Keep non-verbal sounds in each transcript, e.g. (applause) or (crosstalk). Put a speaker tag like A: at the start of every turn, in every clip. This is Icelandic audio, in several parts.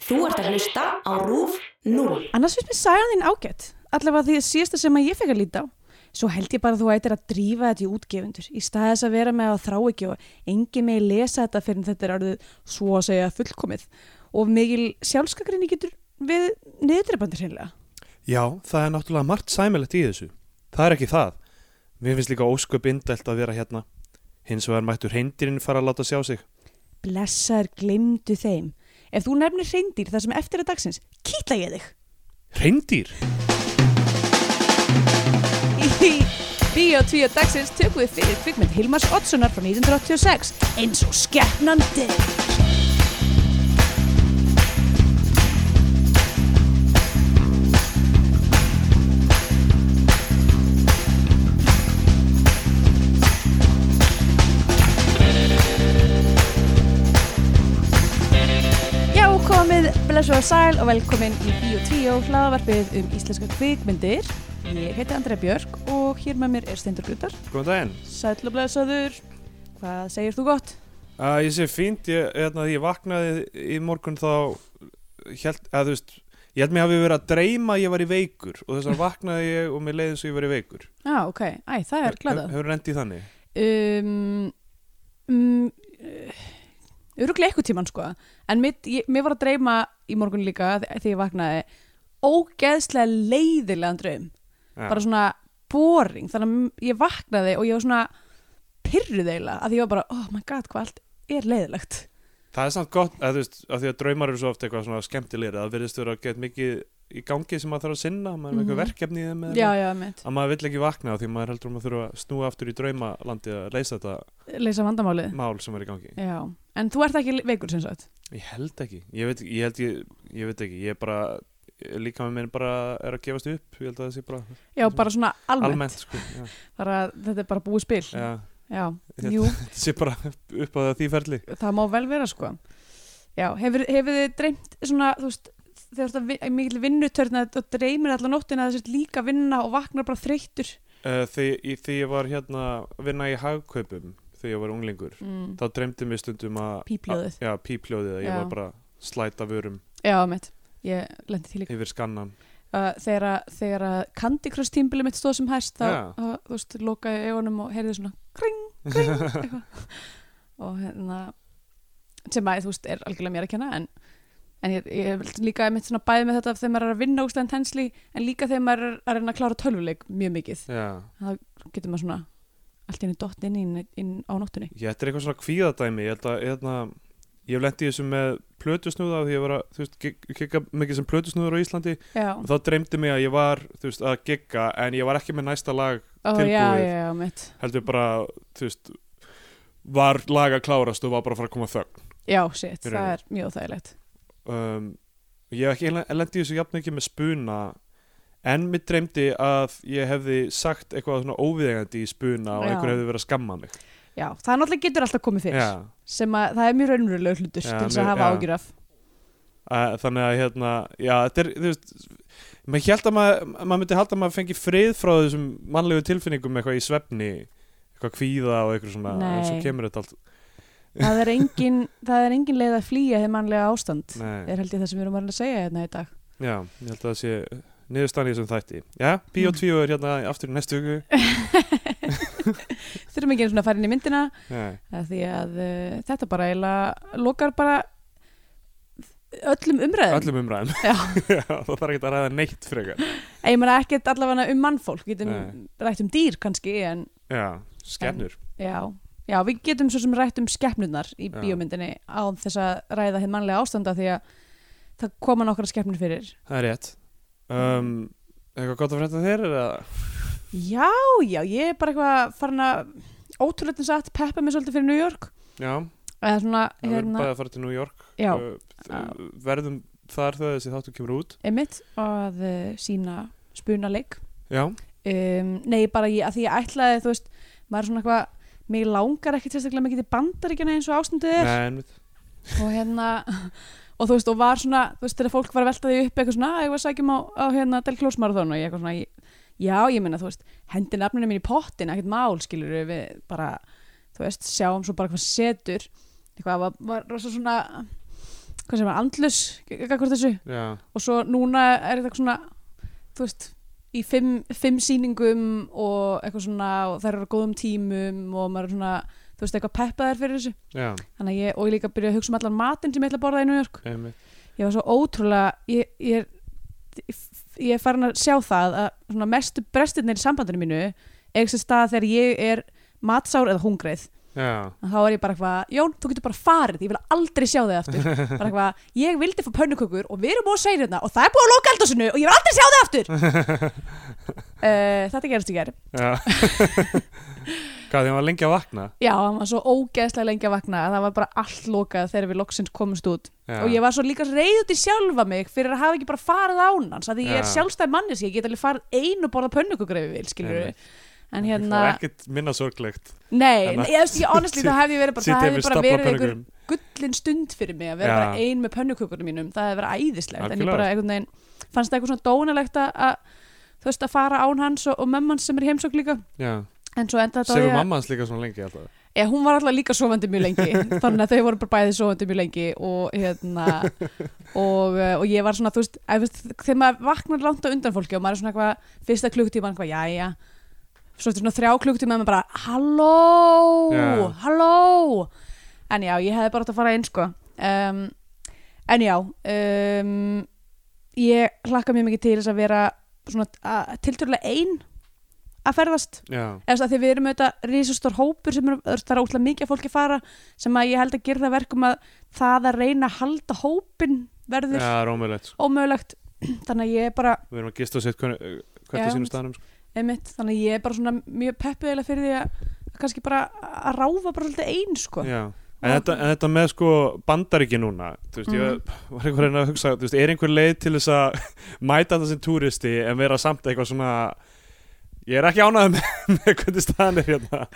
A: Þú ert að hlusta á RÚF 0.
B: Annars finnst mér sagan þín ágætt, allavega því að síðasta sem að ég fekk að líta á. Svo held ég bara að þú ættir að drífa þetta í útgefundur, í stað þess að vera með að þrá ekki og engi megi lesa þetta fyrir þetta er orðið svo að segja fullkomið. Og mikil sjálfskakrinni getur við niðurdrepandir heimlega.
C: Já, það er náttúrulega margt sæmilegt í þessu. Það er ekki það. Mér finnst líka ósköp indælt að vera hérna. Hins vegar mættur hreindýrin fara að láta sjá sig.
B: Blessaður glemdu þeim. Ef þú nefnir hreindýr þar sem eftir að dagsins, kýtla ég þig.
C: Hreindýr?
B: Í Bíó 2 dagsins tökum við fyrir kvikmynd Hilmars Oddssonar frá 1986 eins og skeppnandi. Já, komið, blessu og sæl og velkomin í Bíó 2 hlaðavarpið um íslenska kvikmyndir. Ég heiti Andrea Björk og hér með mér er Steindur Grutar.
C: Góðan daginn.
B: Sæll og blessaður, hvað segir þú gott?
C: Uh, ég sé fínt, ég, hérna, ég vaknaði í morgun þá, held, að, þú veist, ég held mér hafi verið að dreyma að ég var í veikur og þess að vaknaði ég og mér leiði eins og ég var í veikur.
B: Já, ah, ok, æ, það er glatað.
C: Hefur rendið þannig?
B: Um, um, Öruglega eitthvað tíman sko, en mitt, ég, mér var að dreyma í morgun líka þe- þegar ég vaknaði ógeðslega leiðilegan draum.
C: Já.
B: bara svona boring þannig að ég vaknaði og ég var svona pyrruð eiginlega að ég var bara oh my god hvað allt er leiðilegt
C: Það er samt gott, að, þú veist, að því að draumar eru svo oft eitthvað svona skemmtilegir, að það verðist vera að geta mikið í gangi sem maður þarf að sinna, maður er með eitthvað
B: Mhm.
C: verkefni í þeim eða
B: já
C: eitthvað.
B: já mitt
C: að maður vill ekki vakna á því maður heldur um að þurfa að snúa aftur í draumalandi að leysa þetta
B: leysa vandamálið
C: mál sem er í gangi
B: já en þú ert ekki veikur sem sagt
C: ég held ekki, ég veit, ég held ég, ég veit ekki ég er bara, líka með minn bara er að gefast upp, ég held að það sé bara
B: já bara svona almennt,
C: almennt sko, já,
B: bara þetta er bara búið spil já,
C: já, Þetta-
B: jú
C: það sé bara upp að því ferli
B: það má vel vera sko já hefur, hefur þið dreymt svona þú veist þegar þú ert að mikil vinnutörna og dreymir allan nóttina þess að líka vinna og vaknar bara þreyttur
C: uh, því, í- því ég var hérna að vinna í hagkaupum þegar ég var unglingur
B: mm.
C: þá dreymdi mér stundum að
B: Pípljóðið.
C: að- já, pípljóðið, að ég
B: Já.
C: var bara að slæta vörum
B: já mitt ég lendi til í
C: yfir skannan
B: Uh, þegar, að- þegar að Candy Crush tímbili mitt stóð sem hæst þá
C: Já.
B: uh, þú veist, lokaði ég augunum og heyrði svona kring,
C: (laughs)
B: kring eitthvað. og hérna sem að þú veist er algjörlega mér að kenna en, en ég, ég hef líka mitt svona bæði með þetta þegar maður er að vinna úslega intensely en líka þegar maður er að reyna að klára tölvuleik mjög mikið,
C: já
B: getur maður svona allt í einu dott inn, inn, inn á nóttunni
C: Ég, þetta er eitthvað svona kvíðadæmi ég held að hérna, ég hef lendið þessu með plötusnúða af því ég var að, þú veist, gig- gigga mikið sem plötusnúður á Íslandi
B: Já,
C: og þá dreymdi mig að ég var, þú veist, að gigga en ég var ekki með næsta lag,
B: Ó, já,
C: tilbúið.
B: já, já, mitt
C: heldur bara þú veist, var lag að klárast og var bara að fara að koma þögn
B: Já, shit,
C: Í
B: það er
C: rauninni.
B: mjög þægilegt
C: um, ég hef ekki lendið þessu jafn mikið með spuna en mér dreymdi að ég hefði sagt eitthvað svona óviðegandi í spuna og
B: Já.
C: einhver hefði verið að skamma mig
B: Já, það náttúrulega getur alltaf komið fyrir
C: Já.
B: sem að það er mjög raunverulega hlutur
C: Já,
B: til þess að
C: mjög-
B: hafa
C: já.
B: ágjur af
C: að, þannig að hérna já, þetta er, þú veist maður held að maður, maður myndi held að maður fengi frið frá þessum mannlegu tilfinningum eitthvað í svefni, eitthvað kvíða og eitthvað svona,
B: Nei.
C: en svo kemur þetta allt
B: það er engin, það er engin leið að flýja þið mannlega ástand
C: Nei,
B: er held ég það sem við erum að reyna að segja hérna í
C: (laughs)
B: dag
C: já, ég held að það sé niðurstann í þessum þætti, já,
B: Mm.
C: Bíó 2 er hérna aftur í næstu viku
B: þurfum ekki einu svona að fara inn í myndina
C: Nei,
B: af því að uh, þetta bara eiginlega lokar bara öllum umræðum
C: öllum umræðum
B: Já.
C: (laughs) já, það þarf ekki að ræða neitt frekar
B: Ei, ég meina ekkert allavega um mannfólk getum
C: Nei.
B: rætt um dýr kannski en
C: já, skemmur
B: já, já, við getum svo sem rætt um skeppnurnar í
C: Já.
B: bíómyndinni á þess að ræða þið mannlega ástanda því að það koma nokkra skeppnur fyrir
C: það er rétt um, eitthvað gott að frétta þér er að,
B: já, já, ég er bara eitthvað farin að ótrúleitin satt peppa mig svolítið fyrir New York
C: já,
B: eða svona,
C: það verður
B: hérna,
C: bæði að fara til New York
B: já,
C: Uh, þ- verðum þar þegar þessi þáttu kemur út
B: emitt að uh, sína spunaleik
C: já,
B: um, nei, bara ég, að því ég ætlaði þú veist, maður er svona eitthvað mig langar ekki sérstaklega mikið til bandaríkjana eins og ástandið er
C: Nei, einmitt.
B: og hérna, og þú veist, og var svona þú veist, þegar fólk var að velta því upp eitthvað svona "Ah, ég var að sækjum á, á hérna Del Close Marathon og ég eitthvað svona, ég, já, ég meina, þú veist hendi nafninu mín í pottin, ekkert mál skilur við bara, þú veist, sjáum svo bara hvað setur eitthvað, var, var rosa svona hvað sem er andlus eitthvað þessu
C: já,
B: og svo núna er þetta svona þú veist, í fimm, fimm sýningum og eitthvað svona og þær eru á góðum tímum og maður er svona þú veist, eitthvað peppaðar fyrir þessu
C: já,
B: Þannig að ég, og ég líka byrja að hugsa um allan matinn sem ég ætla að borða í New York
C: einmitt
B: ég var svo ótrúlega ég, ég, er, ég er farin að sjá það að svona mestu brestirnir í sambandinu mínu er sem stað þegar ég er matsár eða hungreið
C: já,
B: En þá er ég bara eitthvað, Jón, þú getur bara farið ég vil aldrei sjá þig aftur bara eitthvað, ég vildi fá pönnukökur og við erum á segir hérna og það er búið að loka eldásinu og ég vil aldrei sjá þig aftur uh, þetta gerist í gerð (laughs)
C: já hvað því hann var lengi að vakna
B: já, það var svo ógeðslega lengi að vakna að það var bara allt lokað þegar við loksins komumst út
C: Já.
B: og ég var svo líka reið út í sjálfa mig fyrir að hafa ekki bara farið án hans að því ég er
C: Já.
B: sjálfstæð mannis, ég get alveg farið ein og borða pönnukökur ef ég vil, skilur
C: Einmitt.
B: en hérna,
C: það er ekkert minna sorglegt
B: nei,
C: Þannig að-
B: ég, ég, honestly, það hefði verið bara, það
C: sitja
B: hefði
C: við
B: bara
C: stafla
B: verið einhver
C: pönnugurum
B: gullin stund fyrir mig að vera
C: Já.
B: bara ein með pönnukökunum mínum það hefði verið æðislegt en ég
C: Algjörlega.
B: bara einhvern veginn fannst það eitthvað svona dónalegt að- að þú veist að fara án hans og, og mamman sem er í heimsók líka
C: já,
B: en svo enda þetta á
C: sefur
B: því að-
C: mamma hans líka svona lengi alltaf
B: Já, hún var alltaf líka sofandi mjög lengi þannig að þau voru bara bæði sofandi mjög lengi og hérna og, eh, og ég var svona, þú veist, að, veist þegar maður vaknar langt á undan fólki og maður er svona eitthvað fyrsta klukktíma, eitthvað, jæja svo eftir svona þrjá klukktíma maður bara halló,
C: Já.
B: halló en já, ég hefði bara átt að fara inn sko um, en já um, ég hlakka mjög mikið til þess að vera svona að- tiltölulega ein að ferðast
C: já,
B: eða þess að því við erum auðvitað risastór hópur sem er, það er ótrúlega mikið af fólki að fara sem að ég held að gera það verkum að það að reyna að halda hópin verður
C: já, rómulegt sko.
B: ómögulegt þannig að ég er bara,
C: við erum að gista sitt hvert
B: Já.
C: að sínum staðnum sko.
B: einmitt, þannig að ég er bara svona mjög peppuðilega fyrir því að að kannski bara að ráfa bara svolítið einn sko.
C: já En þetta, en þetta með sko bandaríki núna þú veist,
B: Mhm.
C: ég var einhver reyna að hugsa þú veist, er einhver leið til þess að (laughs) mæta þetta sem túristi en vera samt eitthvað svona ég er ekki ánægð með, (laughs) með hvernig staðan er hérna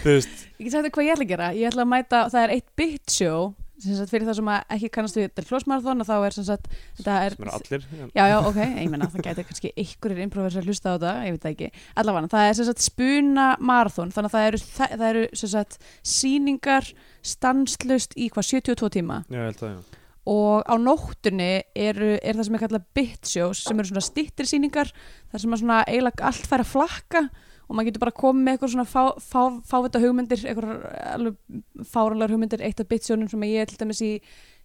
C: þú veist,
B: ég get sagt þér hvað ég ætla að gera ég ætla að mæta, það er eitt bit show sem sagt fyrir það sem að ekki kannast við þetta er flósmarathon og þá er sem sagt þetta er,
C: sem eru allir en,
B: Já, já, ok, ég menna, það gæti kannski einhverjir improvisar að hlusta á þetta, ég veit það ekki allavega, það er sem sagt spuna marathon þannig að það eru, það, það eru sem sagt sýningar stanslust í hvað 72 tíma
C: já, ég held að, já.
B: og á nóttunni eru, er það sem er kallað bit shows sem eru svona stittir sýningar þar sem að svona eiginlega allt fær að flakka og maður getur bara komið með eitthvað svona fá, fá, fávita hugmyndir eitthvað alveg fáranlegar hugmyndir eitt af bit shownum sem ég er til dæmis í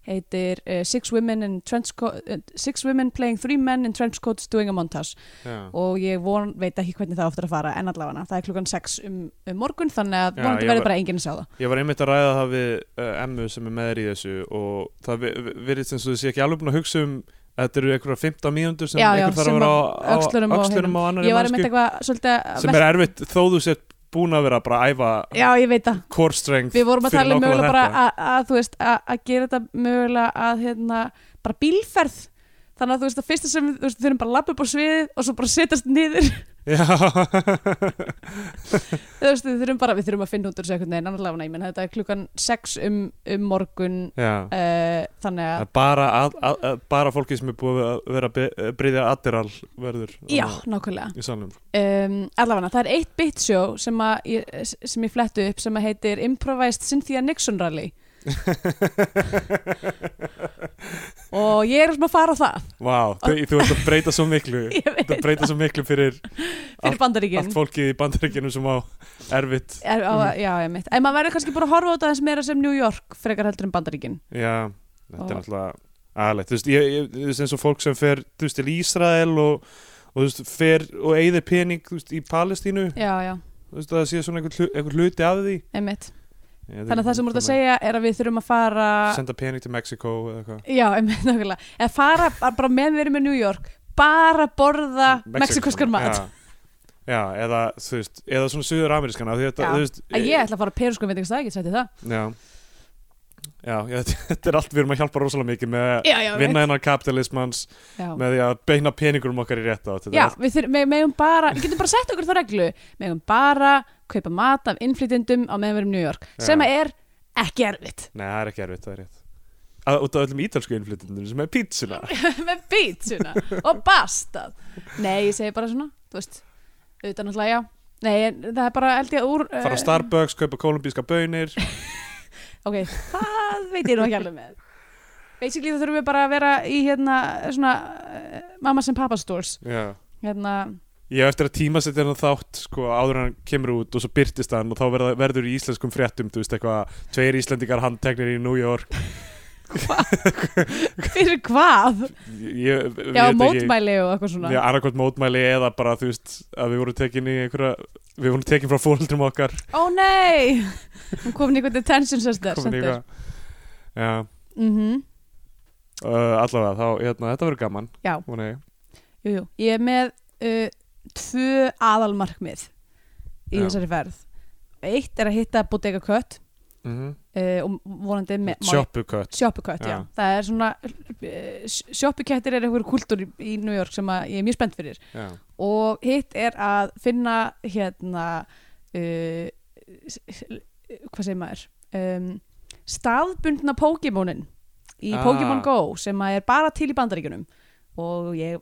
B: heitir uh, six, women in trench coat, uh, six Women Playing Three Men in Trench Coats Doing a Montage
C: Já.
B: og ég von, veit ekki hvernig það oftar að fara en allavega það er klukkan 6 um, um morgun þannig að
C: Já,
B: vonandi
C: ég
B: verður
C: var-
B: bara enginn að sjá það
C: Ég var einmitt að ræða það við uh, Emmu sem er með þér í þessu og það vi- vi- virðist eins og þú sé ekki alveg búin að hugsa um að þetta eru einhverja 15 mínútur sem
B: Já, já,
C: einhver þarf
B: sem
C: að vera á,
B: á öxlunum og
C: öxlunum á annari
B: ég var einmitt
C: mannsku
B: eitthvað svolítið að
C: sem er erfitt þó þú sett búin að vera bara að æfa
B: já ég veit það
C: core strength
B: við vorum að
C: fyrir
B: tala um
C: nákvæmlega
B: mögulega bara
C: þetta.
B: að, að þú veist að, að gera þetta mögulega að hérna bara bílferð þannig að þú veist að fyrsta sem við þú veist, við þurfum bara að lappa upp á sviðið og svo bara setjast niður (laughs)
C: Já,
B: þú veist við þurfum bara við þurfum að finna út úr þessu einhvern veginn annarlega næmin þetta er klukkan 6 um, um morgun
C: (laughs) já
B: uh, þannig að
C: Það er bara, að, að, að, bara fólki sem er búið að vera að bryðja adderall verður
B: já
C: þarna
B: nákvæmlega
C: í
B: (laughs)
C: salnum (laughs)
B: um, allavega, það er eitt bitsjó sem, að ég- sem ég flettu upp sem að heitir Improvised Cynthia Nixon Rally og ég er sem að fara á það (laughs)
C: Vá, þú, þú ert að breyta svo miklu
B: Ég
C: Þú ert að breyta svo miklu fyrir
B: fyrir
C: Allt-
B: bandaríkin
C: allt fólkið í bandaríkjunum sem á erfitt
B: er, á, já, ég mitt, en maður verður kannski bara að horfa á þetta eins meira sem New York frekar heldur en bandaríkin
C: Já, þetta er
B: Og-
C: náttúrulega aðalegt, þú veist, ég, ég, þú veist, eins og fólk sem fer, þú veist, til Ísrael og, og þú veist, fer og eigðir pening, þú veist, í Palestínu,
B: já, já,
C: þú veist, að það sé svona einhver, hlu- einhver hluti af því.
B: einmitt
C: Ég,
B: þannig að það sem þú ert að segja er að við þurfum að fara
C: Senda pening til Mexiko eða eitthvað.
B: já, einmitt, nákvæmlega eða fara bara bara meðan við erum í New York bara borða mexikoskar mat
C: Já, já, eða, þú veist, eða svona suður-amerískan, af því þetta,
B: Já,
C: þú veist,
B: að ég ætla að fara að peruskum veit ekki það, ég geti sagt þér það
C: já, já, já, (laughs) þetta er allt, við erum að hjálpa rosalega mikið með
B: já, já,
C: vinna hennar kapitalismans
B: já.
C: með því að beina peningurum okkar í rétt átt. Þetta er
B: Já,
C: allt-
B: við þurfum, við megum bara, við getum bara sett okkur þá reglu, við megum bara kaupa mat af innflytjendum á meðan við erum í New York,
C: Já.
B: sem að er ekki erfitt.
C: Nei, það er ekki erfitt, það er rétt að, Út af öllum ítalsku innflytundunum sem er pítsuna
B: (laughs) Með bítsuna og bastað. Nei, ég segi bara svona, þú veist, auðvitað náttúrulega já. Nei, en það er bara held ég úr...
C: Fara á
B: eh,
C: Starbucks, kaupa kolumbíska bönir
B: Ok, það veit ég nú ekki alveg með. basically þá þurfum við bara að vera í hérna svona eh, mamma sem pappa stores
C: Já.
B: hérna,
C: Ég hef eftir að tímasetja hann þátt sko, áður en hann kemur út og svo byrtist hann og þá verða, verður í íslenskum fréttum þú veist eitthvað, tveir íslendingar handteknir í New York
B: fyrir hvað?
C: ég, ég,
B: Já,
C: veit ekki-
B: mótmæli og eitthvað svona
C: Já, annarkvæmt mótmæli eða bara þú veist að við vorum tekin í einhverja við vorum tekin frá fóreldrum okkar
B: Ó nei, hún kom í eitthvað detention center
C: komin í
B: center.
C: eitthvað. Já,
B: Mhm.
C: uh, allavega þá, hérna, þetta verður gaman
B: Já.
C: vona ég.
B: Jú, jú, ég er með uh, tvö aðalmarkmið í
C: Já.
B: þessari ferð Eitt er að hitta Bodega Cut
C: Mhm.
B: uh, og vonandi með má ég-
C: Shoppucut
B: Shoppukött, já.
C: Já.
B: Það er svona, eh, shoppukettir er einhver kultúr í, í New York sem að ég er mjög spennt fyrir.
C: Já.
B: Og hitt er að finna, hérna, uh, s- s- hvað segir maður, um, staðbundna Pokémonin í
C: Ah.
B: Pokémon Go sem að er bara til í bandaríkjunum. Og ég,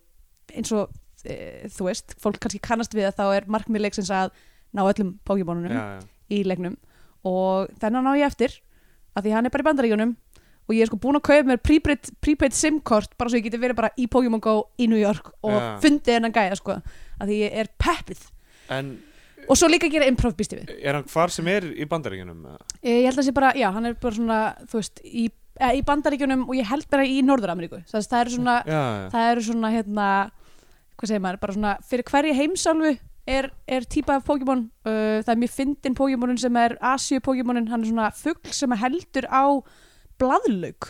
B: eins og, uh, þú veist, fólk kannski kannast við að þá er markmið leiksins að ná öllum Pokémonunum
C: Já, já.
B: í leiknum og þennan á ég eftir af því hann er bara í bandaríunum og ég er sko búin að kaupa mér prepaid, prepaid simkort bara svo ég geti verið bara í Pokémon Go í New York og
C: Já.
B: fundið hennan gæja sko af því ég er peppið
C: En
B: og svo líka gera improv býst ég við
C: er hann hvar sem er í bandaríkjunum? eða?
B: Eh, ég held að sé bara, já, hann er bara svona þú veist, í, eh, í bandaríkjunum og ég held bara í Norður-Ameríku það, það eru svona,
C: Já, já.
B: það eru svona hérna, hvað segir maður, bara svona fyrir hverja heimsálfu er, er típa af Pokémon uh, það er mjög fyndin Pokémonin sem er Asíu Pokémonin, hann er svona fugl sem heldur á blaðlaug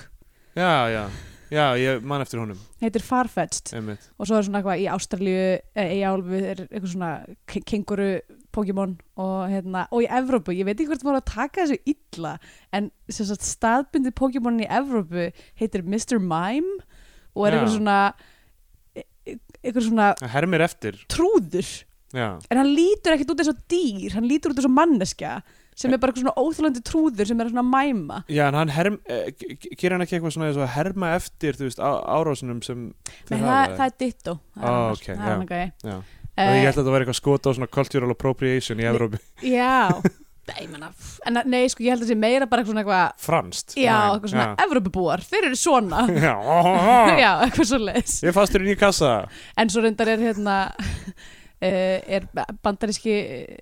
C: já, já, já, ég man eftir honum
B: heitir Farfetch'd
C: einmitt.
B: og svo er svona eitthvað í Ástralíu eigjálfu er eitthvað svona ke- kenguru Pokémon og hérna og í Evrópu, ég veit ekki hvort maður að taka þessu illa en sem sagt staðbundið Pokémonin í Evrópu heitir Mr. Mime og er
C: Já.
B: eitthvað svona e- e- eitthvað svona
C: Hann hermir eftir
B: trúður
C: Já,
B: en hann lítur ekkert út eins og dýr hann lítur út eins og manneskja sem
C: Eh.
B: er bara eitthvað svona óþjólandi trúður sem er svona að mæma
C: já en hann herm, eh, g- g- gerir hann ekki eitthvað svona eins og að herma eftir þú veist, á, árásunum sem
B: Nei, það, það er ditto það er
C: Ó,
B: annar-
C: Ah, ok,
B: það
C: já.
B: er annað gæi.
C: Já.
B: Eh,
C: Ég held að þetta væri eitthvað skot á svona cultural appropriation í Evrópi
B: já
C: (laughs)
B: Nei, manna, en að- nei, sko, ég held að það sé meira bara eitthvað svona eitthvað
C: Franst
B: Já, eitthvað svona, Evrópubúar, þeir eru svona
C: (laughs) Já, ó, ó, ó.
B: (laughs) Já, eitthvað svo leis
C: Ég er fastur inn í kassa
B: En svo reyndar er hérna (laughs) eh, er bandaríski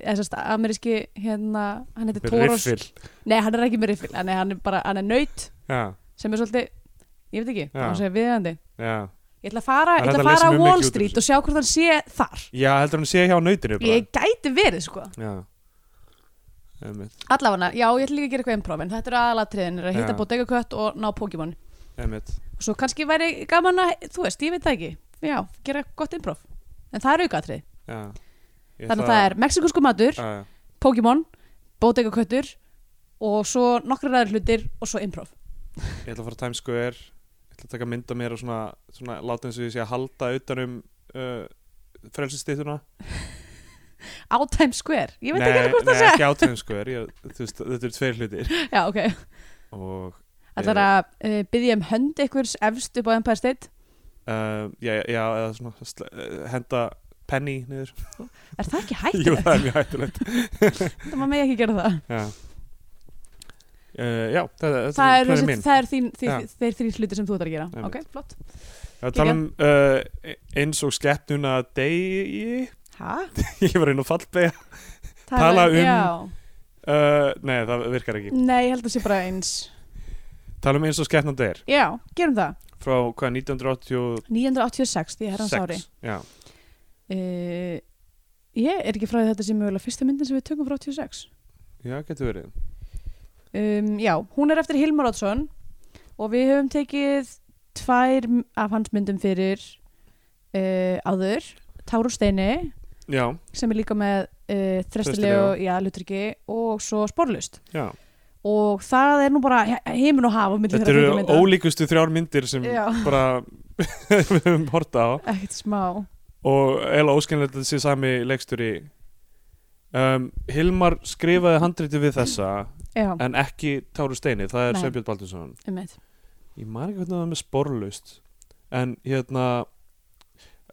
B: eða sérst ameríski hérna, hann heitir
C: Með
B: Tóros
C: riffil
B: Nei, hann er ekki með riffil, hann er, hann er bara hann er naut
C: Já,
B: sem er svolítið, ég veit ekki,
C: Já.
B: hann segir viðandi
C: já
B: Ég ætla að fara,
C: Það er
B: ég ætla
C: hægt
B: að
C: að lesa
B: fara á
C: mjög
B: Wall
C: mikið út úr
B: Street
C: þessu.
B: og sjá hvort hann sé þar.
C: Já, heldur hann sé hjá nautinu bara
B: Ég gæti verið, sko.
C: Já Einmitt,
B: Allafana, já, ég ætla líka að gera eitthvað improv, en þetta eru aðalatriðin, er að hitta
C: Já.
B: Bodega Kött og ná Pokémon.
C: einmitt
B: Og svo kannski væri gaman að, þú veist, ég veit það ekki, já, gera gott improv. En það er aukaatrið.
C: Já Ég
B: Þannig að það er mexikusku matur,
C: Já, já.
B: Pokémon, Bodega Köttur og svo nokkrar aðrir hlutir og svo improv.
C: Ég ætla að fara á Times Square Ég ætla að taka mynda mér og svona, svona Láta eins og ég sé að halda utan um uh, Frelsistýttuna
B: Á Times Square, ég veit ekki alveg hvort það sé.
C: Nei, ekki á Times Square ég, þú veist, Þetta eru tveir hlutir
B: Já, ok.
C: Og
B: Það er að uh, byggja um hönd ykkurs efst upp á Empire State.
C: uh, Já, já, eða svona sl- eh, Henda penny niður
B: Er það ekki
C: Jú,
B: hættið?
C: það er mjög
B: (laughs)
C: hættulegt
B: Það maður megi ekki gera það.
C: Já, uh, já það,
B: Það
C: það,
B: er,
C: það
B: þessi,
C: minn
B: það er þín, þín,
C: Já.
B: þeir þrý hluti sem þú ætlar að gera.
C: Einmitt.
B: Ok, flott.
C: Ég tala um uh, eins og skepnuna degi
B: Hæ?
C: (laughs) Ég var inn á fallbega Tala um-
B: Já.
C: uh, Nei, það virkar ekki
B: Nei, ég held að það sé bara eins.
C: Tala um eins og skepnuna degir
B: Já, gerum það.
C: Frá hvað, 1986
B: 986, því að herrans ári.
C: Já,
B: Uh, ég er ekki frá því að þetta sé mögulega fyrsta myndin sem við tökum frá 86.
C: já getur verið
B: Um, já, hún er eftir Hilmar Oddsson og við höfum tekið tvær m- af hans myndum fyrir uh, áður. Táru Steini,
C: Já,
B: sem er líka með uh, þrestilegu,
C: Þrestilegu.
B: já, lutryggi og svo sporlust.
C: já
B: og það er nú bara heiminn og hafa milli
C: Þetta
B: þeirra
C: eru
B: þriggja mynda.
C: ólíkustu þrjár myndir sem
B: Já.
C: (laughs) bara við höfum horta á
B: ekkert smá
C: og eiginlega óskynlega þetta sé sami leiksturi um, Hilmar skrifaði handriti við þessa
B: já,
C: en ekki Táru Steini, það er
B: Nei.
C: Sveinbjörn Baldursson
B: um
C: ég man ekki hvernig það var með sporlaust en hérna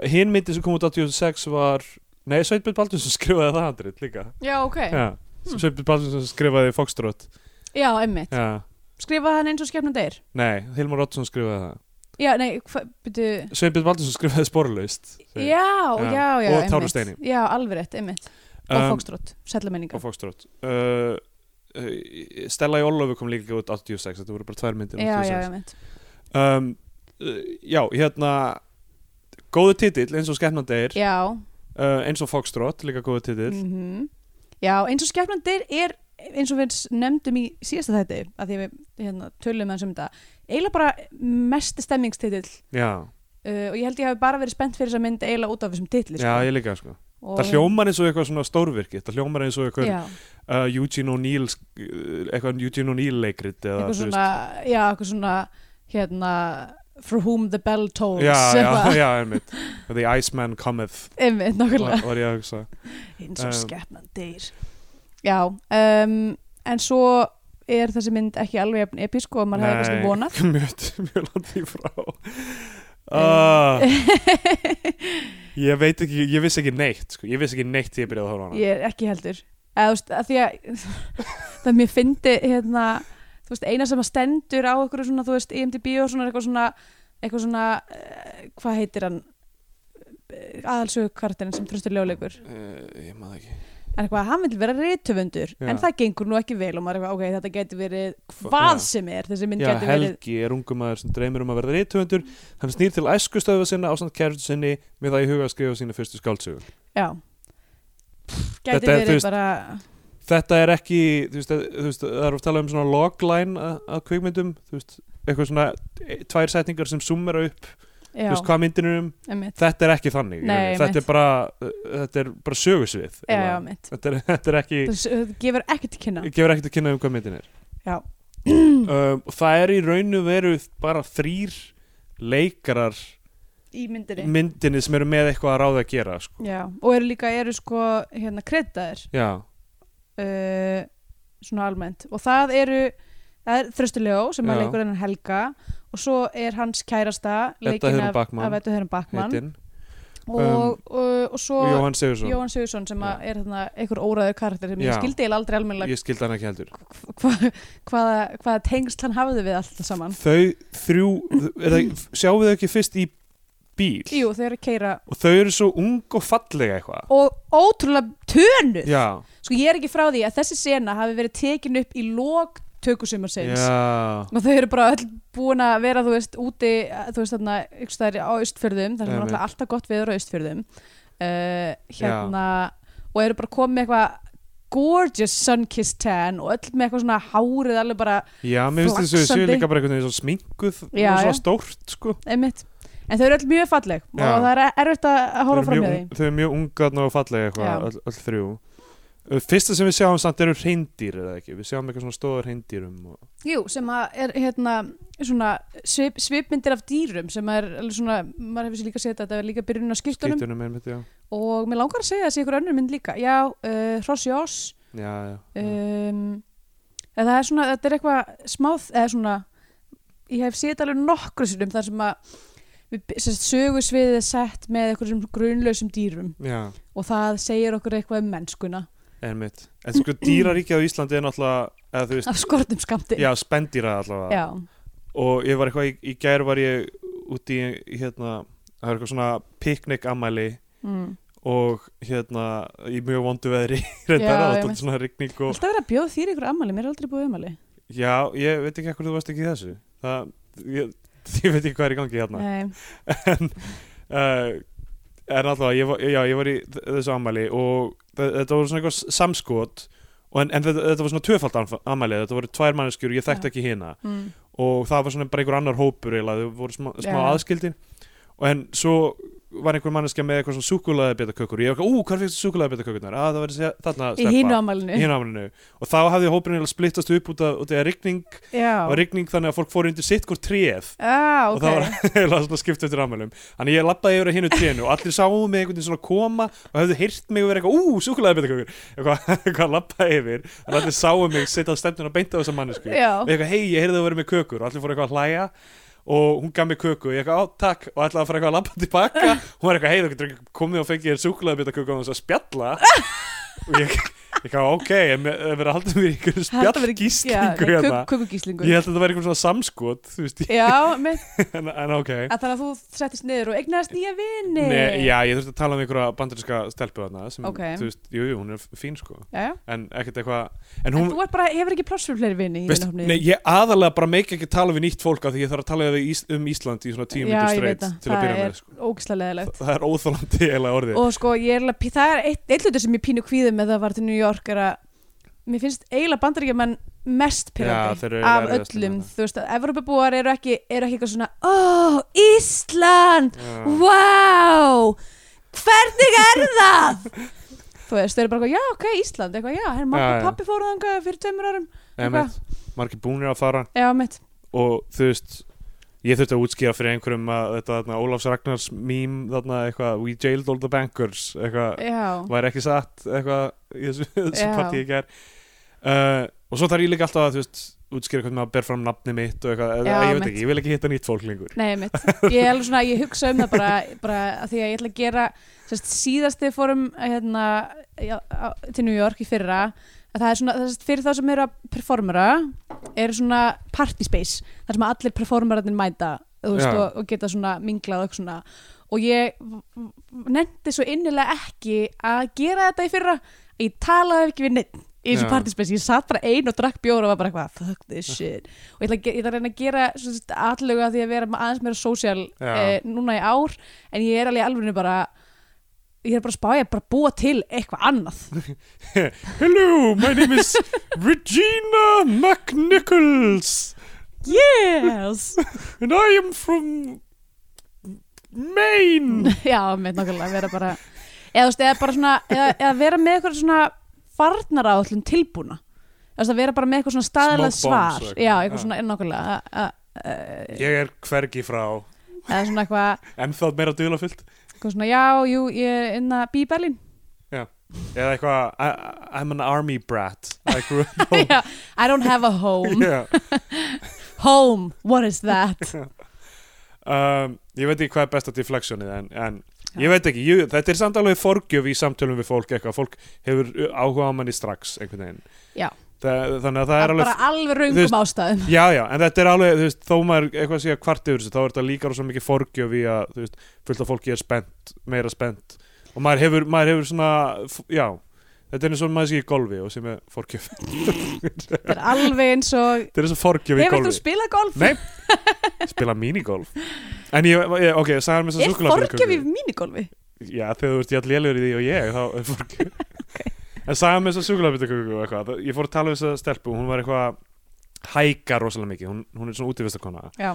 C: hinn myndi sem kom út 86 var nei, Sveinbjörn Baldursson (laughs) skrifaði það handrit líka
B: já, ok,
C: ja. Sveinbjörn Baldursson skrifaði Foxtrot
B: já, um
C: ja.
B: skrifaði hann eins og skefnum degir
C: Nei, Hilmar Oddsson skrifaði það
B: já, nei, hvað, byrju
C: Sveinbjörn Baldursson skrifaði sporlaust
B: já, já, já,
C: Og
B: einmitt.
C: Tár og steini.
B: já, alveg rétt, einmitt og um, Fokstrótt,
C: og
B: Settlameiningar
C: Fokstrót uh, uh, Stella í Ólöfu kom líka út 86 þetta voru bara tvær myndir
B: já, já,
C: 86.
B: einmitt
C: um, uh, já, hérna góðu titill eins og skemmnandegir yeah.
B: já,
C: uh, eins og Fokstrót líka góðu titill
B: mm já, eins og skefnum degir er eins og við nefndum í síðasta þætti að því við hérna, tölum hans um þetta eiginlega bara mest stemmingstitill
C: já,
B: uh, og ég held ég hafi bara verið spennt fyrir þess að mynd eiginlega út af þessum titli
C: já, ég líka sko
B: og,
C: það hljómar eins og eitthvað svona stórvirki það hljómar eins og eitthvað
B: já,
C: uh, Eugene O'Neill sk- uh, eitthvað Eugene O'Neill leikrit eða,
B: eitthvað
C: þú veist-
B: svona, já, eitthvað svona hérna, for whom the bell tolls
C: já, já,
B: (laughs) eitthvað.
C: já, einmitt The Iceman Cometh
B: einmitt, nákvæmlega
C: var, var ég að hugsa
B: eins og
C: Um.
B: skepnan deyr já, um, en svo er þessi mynd ekki alveg jafn episk og maður hefði kannski vonað
C: (laughs) mjög, mjög langt í
B: (laughs)
C: frá uh, ég veit ekki ég vissi ekki neitt sko. ég vissi ekki neitt því ég byrjaði að horfa á hana
B: ég er ekki heldur eða þú veist, að því að (laughs) það mér fyndi hérna þú veist, eina sem að stendur á einhverju svona, þú veist, E IMDb og svona eitthvað svona eitthvað svona, uh, hvað heitir hann aðalsögukvartin sem tröstur ljóðleikur
C: uh, ég maður ekki
B: en eitthvað að hann vil vera rithöfundur
C: Já.
B: en það gengur nú ekki vel og maður er eitthvað, ok, þetta geti verið
C: Hva- já.
B: hvað sem er, þessi mynd
C: já,
B: geti verið
C: Helgi er ungum maður sem dreymir um að verða reytuvendur hann snýr til æskustöðu sinna ásamt kærtu sinni með það í huga að skrifa sína fyrstu skáldsögu
B: já, geti
C: Þetta er, þú
B: verið
C: veist,
B: bara
C: þetta er ekki þú veist, það- þú veist, það er að tala um svona logline að, að kvikmyndum þú veist, eitthvað svona e, tvær setningar sem summera upp þú
B: já,
C: veist, hvað myndin er um
B: einmitt,
C: þetta er ekki þannig í
B: Nei,
C: rauninni.
B: einmitt.
C: þetta er bara þetta er bara sögusvið
B: já,
C: eða-
B: já, mitt
C: þetta, er, (laughs) þetta er ekki
B: það gefur ekkert til kynna
C: ég gefur ekkert að kynna um hvað myndin er
B: já,
C: (clears throat) um, og það er í raunu veru bara þrýr leikarar
B: í myndinni
C: myndinni sem eru með eitthvað að ráða að gera sko.
B: Já, og eru líka, eru sko hérna kreddaðir
C: já,
B: uh, svona almennt og það eru, það er Þröstuljó sem að
C: Já.
B: leikur hennar Helga og svo er hans kærasta
C: Edda
B: leikin
C: Hugrún
B: af,
C: Bachmann.
B: af Edda Hörnum Bakman
C: heitin
B: og,
C: Um,
B: og, og svo
C: og Jóhann Sigursson
B: Jóhann Sigurðsson sem að er hérna einhver óræður karakter sem
C: Já.
B: ég skildi eiginlega aldrei almennilega
C: ég skildi hann ekki heldur
B: hva, hvaða, hvaða tengst hann hafði við allt það saman
C: þau þrjú, er það, sjáum við þau ekki fyrst í bíl
B: Jú, þau eru að keira
C: og þau eru svo ung og fallega eitthvað
B: og ótrúlega tönuð
C: já,
B: Sko ég er ekki frá því að þessi sena hafi verið tekin upp í lók tökusumarsins
C: já
B: og þau eru bara öll búin að vera þú veist úti, þú veist þarna ykkur staðar á austfjörðum, þar sem er
C: Einmitt.
B: náttúrulega alltaf gott viður á austfjörðum uh, hérna og eru bara komið með eitthvað gorgeous sun-kissed tan og öll með eitthvað svona hárið alveg bara
C: Já, mér finnst þessu séu
B: Flaksandi.
C: líka bara einhvern veginn svona sminguð
B: Já,
C: og
B: já.
C: svona stórt sko.
B: einmitt, en þau eru öll mjög falleg
C: Já.
B: og það er e- erfitt að að
C: eru
B: horfa fram
C: mjög
B: með
C: ung- þau eru mjög ungaðna og fallega eitthvað,
B: Já.
C: öll, öll þrjú Uh, Fyrsta sem við sjáum samt eru reyndýr eða ekki, við sjáum eitthvað svona stóða reyndýrum og...
B: því Jú, sem að er hérna svona svip, svipmyndir af dýrum sem er alveg svona, maður hefur sér líka setið að þetta er líka byrjun á skiptunum
C: Skýtunum er mitt, já
B: og mér langar að segja þessi ykkur önnur mynd líka já, uh, Hrossi Oss
C: Já, já, já.
B: um, eða það er svona, þetta er eitthvað smáð eða svona, ég hef séð alveg nokkru sinum þar sem að við sérst, sögu sviðið er sett með einhverjum grunlausum dýrum
C: já
B: og það segir okkur eitthvað um mennskuna
C: er mitt En sko dýraríkja á Íslandi er náttúrulega eða þú veist,
B: af skortum skamti
C: já, spendýra allavega
B: já,
C: og ég var eitthvað, í, í gær var ég úti í hérna, það er eitthvað svona piknik ammæli
B: Mm.
C: og hérna, í mjög vondu veðri (laughs) reyndar,
B: Já, ég
C: það var dálítið
B: mitt.
C: svona rigning og
B: alltaf verið að bjóða þýr ykkur ammali, mér er aldrei búið ammali
C: Já, ég veit ekki hvað þú varst ekki í þessu Það, ég, (laughs) ég veit ekki hvað er í gangi hérna
B: Nei,
C: (laughs) En, uh, en alltaf, ég var, já, ég var í þ- þessu ammæli og þe- þetta voru svona eitthvað samskot og en, en þetta, þetta var svona tvöfald am- ammæli Þetta voru tvær manneskjur og ég þekkt
B: Já.
C: ekki hina
B: mm.
C: Og það var svona bara einhver annar hópur eiginlega, Þau voru smá, smá
B: Já.
C: aðskildin Og en svo var einhver manneskja með eitthvað svona súkulaði betakökur Ég var ekki, ú, hvað fyrst súkulaði betakökurnar? Ah, það var þessi-
B: í
C: þarna stelpa."
B: hínu
C: Í
B: ammalinu
C: hinu ammalinu Og þá hafði hópurinn eiginlega splittast upp út af, út af rigning
B: já,
C: og rigning þannig að fólk fóru undir sitt hvort tréð
B: ah,
C: og það var (laughs)
B: ok
C: heila svona skipt eftir ammælum þannig að ég lappaði yfir að hinu trénu og allir sáum mig einhvern veginn svona koma og hefðu heyrt mig og verið eitthvað, ú, súkulega betakökur (laughs) eitthvað, eitthvað lappaði yfir þannig að allir sáum mig setja stefnun að beinta á þessa mannesku og
B: já,
C: eitthvað, hei, ég heyrði að vera með kökur og allir fóru eitthvað að hlæja og hún gaf mér köku og ég eitthvað, á, takk og ætlaði að fara eitthvað að lappa tilbaka hún var eitthvað, hei, þú getur ekki komið og fengið þér súkulega betaköku og þess að spjalla og ég Ég gaf, ok, ef við erum haldið mér í einhverju
B: Þetta verið-
C: spjallgíslingu
B: já,
C: hérna
B: kuk- Kukugíslingu
C: Ég held að þetta væri einhverjum svona samskot, þú veist, (laughs)
B: Já, með,
C: en, en ok
B: að þannig að þú settist niður og eignaðist nýja vini
C: Nei, já, ég þurfti að tala um einhverja bandarinska stelpu þarna sem,
B: Ok.
C: þú veist, jú, jú, hún er fín sko
B: Jæja.
C: en ekkert eitthvað en
B: En
C: hún,
B: þú er bara, hefur ekki pláss fyrir fleiri vini í
C: veist,
B: vinahópnum
C: nei,
B: þínum.
C: ég aðalega bara meik ekki tala við nýtt fólk af því ég þarf að tala við ís, um Ísland í svona tíu
B: Já,
C: myndir
B: ég veit
C: streitt
B: það.
C: til að byrja
B: Það
C: með
B: er
C: sko.
B: ógislega leðilegt
C: það er óþólandi eiginlega orðið
B: og sko ég er eiginlega pí- það er eitt, eitt hlutur sem ég pínu kvíði með það var til New York er að mér finnst eiginlega bandaríkjumenn mest
C: Já,
B: pirrandi
C: þeir eru
B: af
C: erfiðastir með
B: öllum
C: það.
B: þú veist að Evropabúar eru ekki eru ekki eitthvað svona ó, Ísland,
C: Já.
B: wow hvernig
C: (laughs)
B: er það þú veist, þau eru bara eitthvað, já, ok, Ísland eitthvað, já, hérna mamma
C: Já,
B: og
C: já.
B: pappi fóru þangað fyrir tveimur árum,
C: Nei,
B: eitthvað.
C: mitt, margir búnir að fara
B: já, mitt
C: og þú veist ég þurfti að útskýra fyrir einhverjum að þetta þarna, Ólafs Ragnars mím þarna eitthvað we jailed all the bankers eitthvað
B: já,
C: væri ekki satt eitthvað í þessu, (laughs) þessu
B: Já.
C: partí ekki er uh, og svo þarf ég líka alltaf að þú veist útskýra hvernig maður ber fram nafni mitt og eitthvað,
B: Já,
C: ég veit
B: mitt.
C: ekki, ég vil ekki hitta nýtt fólk lengur
B: Nei, mitt. Ég er alveg svona, ég hugsa um það bara, bara að því að ég ætla að gera sérst, síðast þegar fórum hérna, já, á- til New York í fyrra að það er svona, sérst, fyrir þá sem eru að performera, eru svona party space, þar sem allir performerarnir mæta þú veist,
C: Já.
B: og, og geta svona minglað og eitthvað svona og ég nefndi svo innilega ekki að gera þetta í fyrra ég talaði ekki við neitt í þessu
C: Já.
B: partyspace, ég satt bara ein og drakk bjóra og var bara eitthvað, fuck this shit og ég ætla að, ge- ég ætla að reyna að gera allega því að vera aðeins meira sósíal
C: Já.
B: eh, núna í ár, en ég er alveg alveg bara, ég er bara að spá ég er bara að búa til eitthvað annað
C: (laughs) Hello, my name is Regina McNichols
B: yes,
C: and I am from Maine
B: (laughs) já, með nákvæmlega vera bara, eða þú veist, eða bara svona eða, eða vera með eitthvað svona farnaráðlun tilbúna þú veist að vera bara með eitthvað svona staðlega
C: Smoke bombs
B: svar
C: og eitthvað.
B: já, eitthvað
C: Já.
B: svona nákvæmlega a- a- eh,
C: Ég er hvergi frá
B: eða svona eitthvað,
C: en þá meira duðlafullt
B: eitthvað svona, já, jú, ég er inn að býja í Berlín
C: eða eitthvað, "I- I'm an army brat I grew up home
B: Já, I don't have a (laughs)
C: (laughs)
B: home
C: yeah.
B: Home, what is that?
C: um, Ég veit ekki hvað er besta deflectionið en, en ég veit ekki, ég, þetta er samt alveg forgjöf í samtölum við fólk eitthvað, fólk hefur áhuga á manni strax einhvern veginn
B: Já.
C: Þa, þannig að það er alveg
B: bara alveg
C: þú
B: raungum
C: veist-
B: ástæðum
C: Já, já, en þetta er alveg, þú veist, þó maður eitthvað sé að kvart yfir þessu, þá er þetta líka rosa mikið forgjöf í að, þú veist, fullt af fólki er spennt, meira spennt og maður hefur, maður hefur svona, f- já, þetta er eins og maður sé í golfi og sem er forgjöf (laughs)
B: Þetta er alveg eins og
C: Þetta er eins og forgjöf í
B: Hefur þú
C: golfi
B: spilað golf?
C: Nei, spila minigolf En ég, ég ok, ég sagði hann með þess að
B: Er forgjöf í
C: súkulega
B: minigolfi?
C: Já, þegar þú veist, ég all lélugur í því og ég, þá er
B: (laughs)
C: forgjöf En sagði hann með þess að súkulega og eitthvað, það- ég fór að tala við þess að stelpu, hún var eitthvað hækar rosalega mikið, hún, hún er svona útivistakona
B: Já,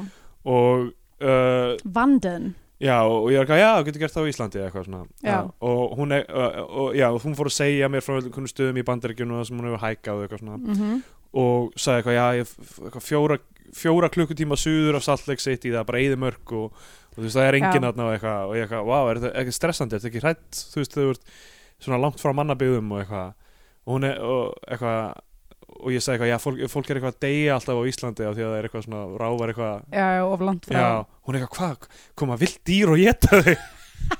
C: og uh,
B: vandun
C: já, og ég var eitthvað, já, þú getur gert það á Íslandi eða eitthvað svona,
B: Já.
C: og hún er, uh, og, já, og hún fór að segja mér frá einhvern stöðum í bandaríkjunum og það sem hún hefur hækað og eitthvað svona,
B: mm -hmm.
C: og sagði eitthvað, já, ég, f- eitthvað fjóra, fjóra klukkutíma suður af Salt Lake City, það er bara eyði mörg og, og þú veist, það er enginn
B: Já.
C: þarna og eitthvað, og ég eitthvað, vá, er þetta ekki stressandi, er þetta ekki hrætt, þú veist, þau ert svona langt frá mannabyggðum og eitthvað, og hún er, og eitthvað, og ég sagði eitthvað, já, fólk, fólk er eitthvað að deyja alltaf á Íslandi af því að það er eitthvað svona rávar eitthvað
B: Já, já, of langt frá
C: Já, hún er eitthvað, hvað, koma vilt dýr og
B: (laughs)
C: geta þau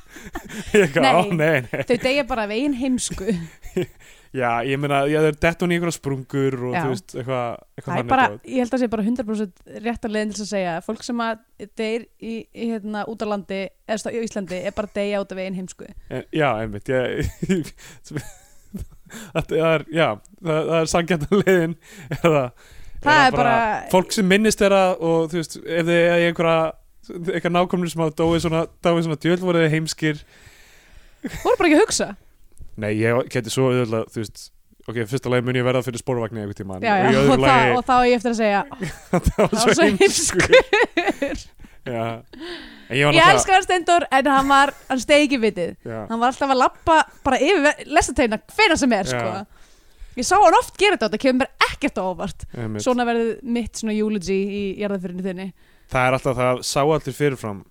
C: Ég eitthvað, á,
B: Nei.
C: nei, nei
B: Þau deyja bara veginn heimsku
C: Já, ég meina, já, það er dett hún í einhverja sprungur og
B: Já.
C: þú veist, eitthvað,
B: Það er
C: eitthvað þannig
B: bara,
C: dót.
B: ég held að það sé bara 100% rétt að leiðin til þess að segja að Fólk sem að deyr í, í hérna, út á landi eða stá- í Íslandi er bara að deyja út af veginn heimsku
C: En- Já, einmitt, ég (laughs) Þetta er, já, það, það er sangjarnarlegin eða,
B: Það er bara-
C: Fólk sem minnist þeirra og þú veist, ef þið er einhverja eitthvað nákvæmlega sem að dói svona, dói svona djöld voru þið heimskir
B: Voru bara ekki að hugsa
C: Nei, ég geti svo auðvitað, þú veist Ok, í fyrsta lagi mun ég verða fyrir spórvagni einhvern tímann
B: já, já, (laughs)
C: og í
B: og,
C: öðru lagi
B: það, og þá er ég eftir að
C: (laughs)
B: segja "Ó,
C: það
B: Það var svo heimskur
C: Já. En ég var
B: Ég
C: náttúrulega
B: elska hann Steindor en hann var, hann stegi ekki vitið
C: Já.
B: Hann var alltaf að lappa bara yfir lestateina hvena sem er sko
C: Já.
B: Ég sá hann oft gera þetta og það kemur mér ekkert á óvart
C: Einmitt.
B: Svona verður mitt svona eulogy í jarðafyrinu þinni
C: Það er alltaf það sá allir fyrirfram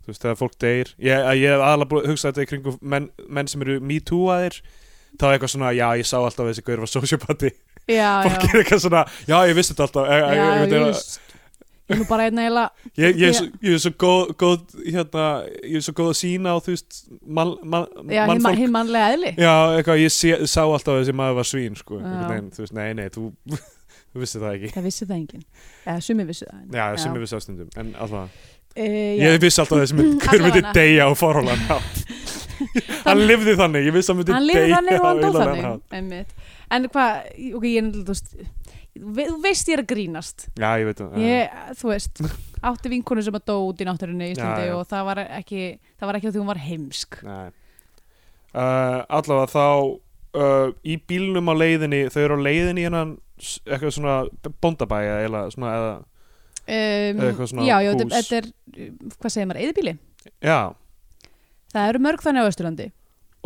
C: Þú veist, þegar fólk deyr Ég, að ég hef aðalega búið- hugsað þetta í kringum menn, menn sem eru me too aðir þá er eitthvað svona, já, ég sá alltaf að þessi gaur var sociopati
B: Já,
C: Fólk
B: já
C: er eitthvað svona, já, ég vissi þetta alltaf e, e,
B: Já, ég
C: e, ég,
B: veist ég er nú bara einn eiginlega
C: Ég, ég, er
B: Ég-
C: svo- ég er svo góð, góð hérna, ég er svo góð að sína á þú veist mann man,
B: já, hinn
C: mannfólk
B: hin mannlega eðli
C: já, eitthvað, ég sé, sá alltaf þessi maður var svín sko,
B: Já.
C: einhvern veginn, þú veist, nei, nei, þú (laughs) þú vissi það ekki,
B: það vissi það enginn, eða sumi vissi það enginn.
C: já, sem ég vissi á stundum en alltaf,
B: Eh, já.
C: ég vissi alltaf þessi
B: (laughs)
C: mynd, hver myndi
B: Allavega.
C: deyja á forhólan
B: (laughs)
C: hann lifði þannig, ég vissi að myndi
B: hann lifið
C: deyja
B: þannig og
C: á
B: hann dó
C: heilagan
B: þannig
C: hátt.
B: einmitt. en hvað, ok, ég er náttúrulega, þú veist, ve- þú veist ég er að grínast
C: já, ég veit um það
B: ég, þú veist, átti vinkonu sem að dó út í náttúrunni í Íslandi
C: Já, já.
B: og það var ekki það var ekki að því hún var heimsk
C: Nei. Uh, allavega þá uh, í bílnum á leiðinni þau eru á leiðinni hennan eitthvað svona bóndabæ eða, eða, svona, eða,
B: um,
C: Eða eitthvað svona
B: já, já,
C: hús.
B: þetta þetta er, uh, hvað segir maður, eðibíli
C: já,
B: það eru mörg þannig á Östurlandi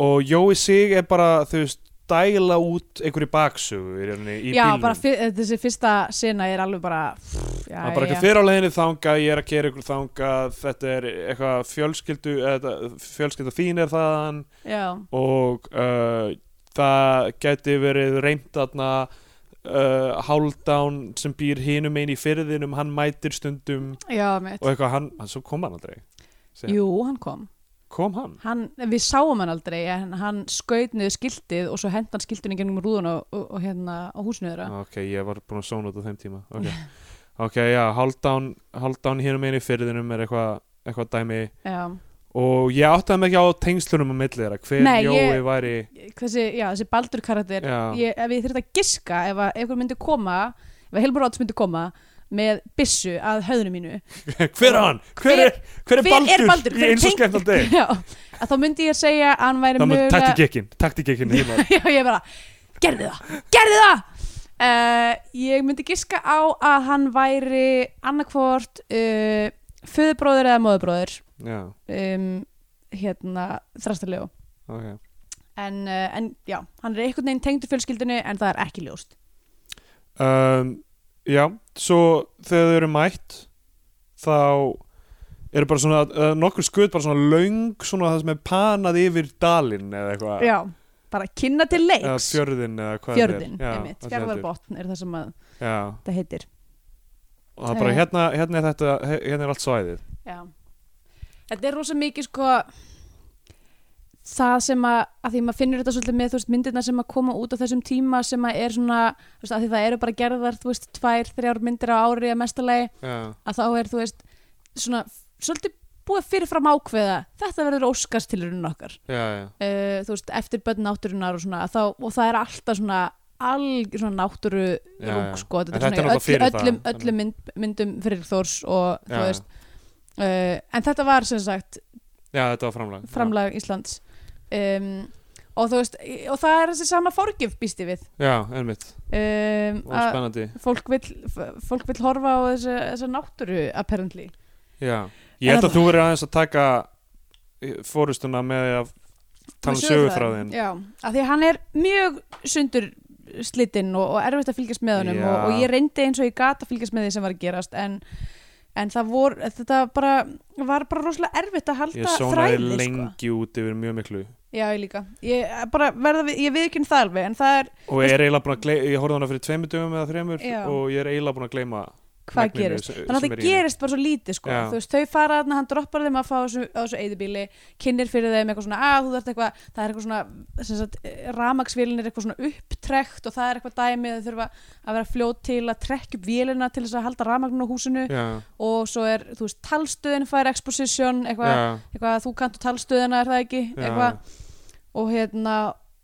C: og Jói sig er bara þau veist dæla út einhverju baksögu í, rauninni í
B: já,
C: bílnum
B: bara fyr, þessi fyrsta sena er alveg bara pff, já,
C: Það er bara
B: já,
C: eitthvað fyrir á leiðinni þangað, ég er að kera ykkur þangað, þetta er eitthvað fjölskyldu, eða, fjölskyldu þín er þaðan
B: já,
C: og uh, það geti verið reynd aðna uh, Hálfdán sem býr hinum einn í fyrðinum hann mætir stundum
B: já, mitt
C: og eitthvað hann, hann svo kom hann aldrei Segja.
B: jú, hann kom
C: kom hann?
B: hann, við sáum hann aldrei en hann skaut niður skiltið og svo hent hann skiltinu gennum rúðun og, og, og hérna á húsinu þeirra
C: ok, ég var búin að sóna út á þeim tíma (laughs) ok, ok, já, Hálfdán Hálfdán hinum einn í fyrðinum er eitthvað eitthvað dæmi
B: já.
C: og ég áttaði mig ekki á tengslunum á milli þeirra, hver
B: Nei,
C: Jói
B: ég-
C: væri
B: Hversi, já, þessi baldur karakter
C: Já.
B: ég, ef ég þurft að giska ef að einhver myndi koma ef að Hilmar Odds myndi koma með byssu að höðinu mínu
C: (laughs) hver er hann? hver er, hver er, Baldur? í eins og skemmt aldrei
B: (laughs) já, að þá myndi ég segja að hann væri
C: það mun
B: mögulega
C: taktikikkin, taktikikkin heima
B: (laughs) já, ég bara, gerði það, gerði það uh, ég myndi giska á að hann væri annarkvort uh, föðubróður eða móðubróður
C: já,
B: um, hérna, þrastarlegu
C: ok
B: en, uh, en já, hann er einhvern veginn tengdur fjölskyldinu en það er ekki ljóst
C: um, Já, svo þegar þau eru mætt þá eru bara svona uh, nokkur skutt bara svona löng svona það sem er panað yfir dalinn eða eitthvað
B: já, bara kynna til
C: eða
B: leiks
C: fjörðin eða hvað þetta er.
B: fjörðin,
C: Já,
B: einmitt,
C: það stendur.
B: fjörðarbotn er það sem að
C: Já,
B: það heitir
C: og það er bara
B: Eh.
C: hérna, hérna er þetta hérna er allt svæðið
B: já. þetta er rosa mikið sko það sem að, að því maður finnur þetta svolítið með þú veist, myndirna sem að koma út á þessum tíma sem að er svona, þú veist, að því það eru bara gerðar þú veist, tvær, þrjár myndir á ári að mestalegi,
C: Já,
B: að þá er þú veist svona, svolítið búið fyrirfram ákveða þetta verður óskastilurinn okkar
C: já, já
B: uh, þú veist, eftir börn náttúrunar og svona, þá, og það er alltaf svona alg, svona náttúru
C: Já, já.
B: rúk, sko, þetta
C: En þetta
B: er svona
C: er náttúrulega
B: í
C: fyrir
B: öll,
C: það,
B: öllum,
C: þannig.
B: öllum mynd, myndum fyrir Þórs og þú
C: Já,
B: veist uh, en þetta var sem sagt
C: já, þetta var framlag
B: framlag Íslands um, og þú veist, og það er þessi sama forgjöf býst ég við
C: Já, já einmitt,
B: um,
C: og
B: að
C: spennandi
B: fólk vill, f- fólk vill horfa á þessa, þessa náttúru apparently
C: Já,
B: En
C: ég held
B: þarna-
C: að þú verið aðeins að taka eh, fórustuna með því að tala um sögurþráðin
B: Já, af því að hann er mjög sundur slitinn og, og erfitt að fylgjast með honum
C: Já.
B: og, og ég reyndi eins og ég gat að fylgjast með því sem var að gerast en, en það vor, þetta bara var bara rosalega erfitt að
C: Ég
B: halda
C: sónaði
B: þræði sko.
C: lengi út yfir mjög miklu
B: Já, ég líka ég, bara, verða, við- ég við ekki um það alveg en það er,
C: og er eiginlega búin að gleyma ég horfði á hana fyrir tveimur dögum eða þreimur
B: Já.
C: og ég er eiginlega búin að gleyma
B: hvað
C: magninu
B: gerist
C: sem-
B: þannig að
C: sem er
B: það
C: í henni.
B: gerist bara svo lítið sko.
C: Já.
B: Þú veist, þau fara þarna, hann droppar þeim að fá á þessu, á þessu eðibíli, kynir fyrir þeim eitthvað svona, að þú þarft eitthvað, það er eitthvað svona sem sagt, ramaksvélin er eitthvað svona upptrekt og það er eitthvað dæmi, þau þurfa að vera fljót til að trekja upp vélina til þess að halda ramagnin á húsinu
C: já,
B: og svo er, þú veist, talstöðin fær exposition, eitthvað,
C: já,
B: eitthvað þú kantu talstöðina, er það ekki,
C: já,
B: eitthvað og hérna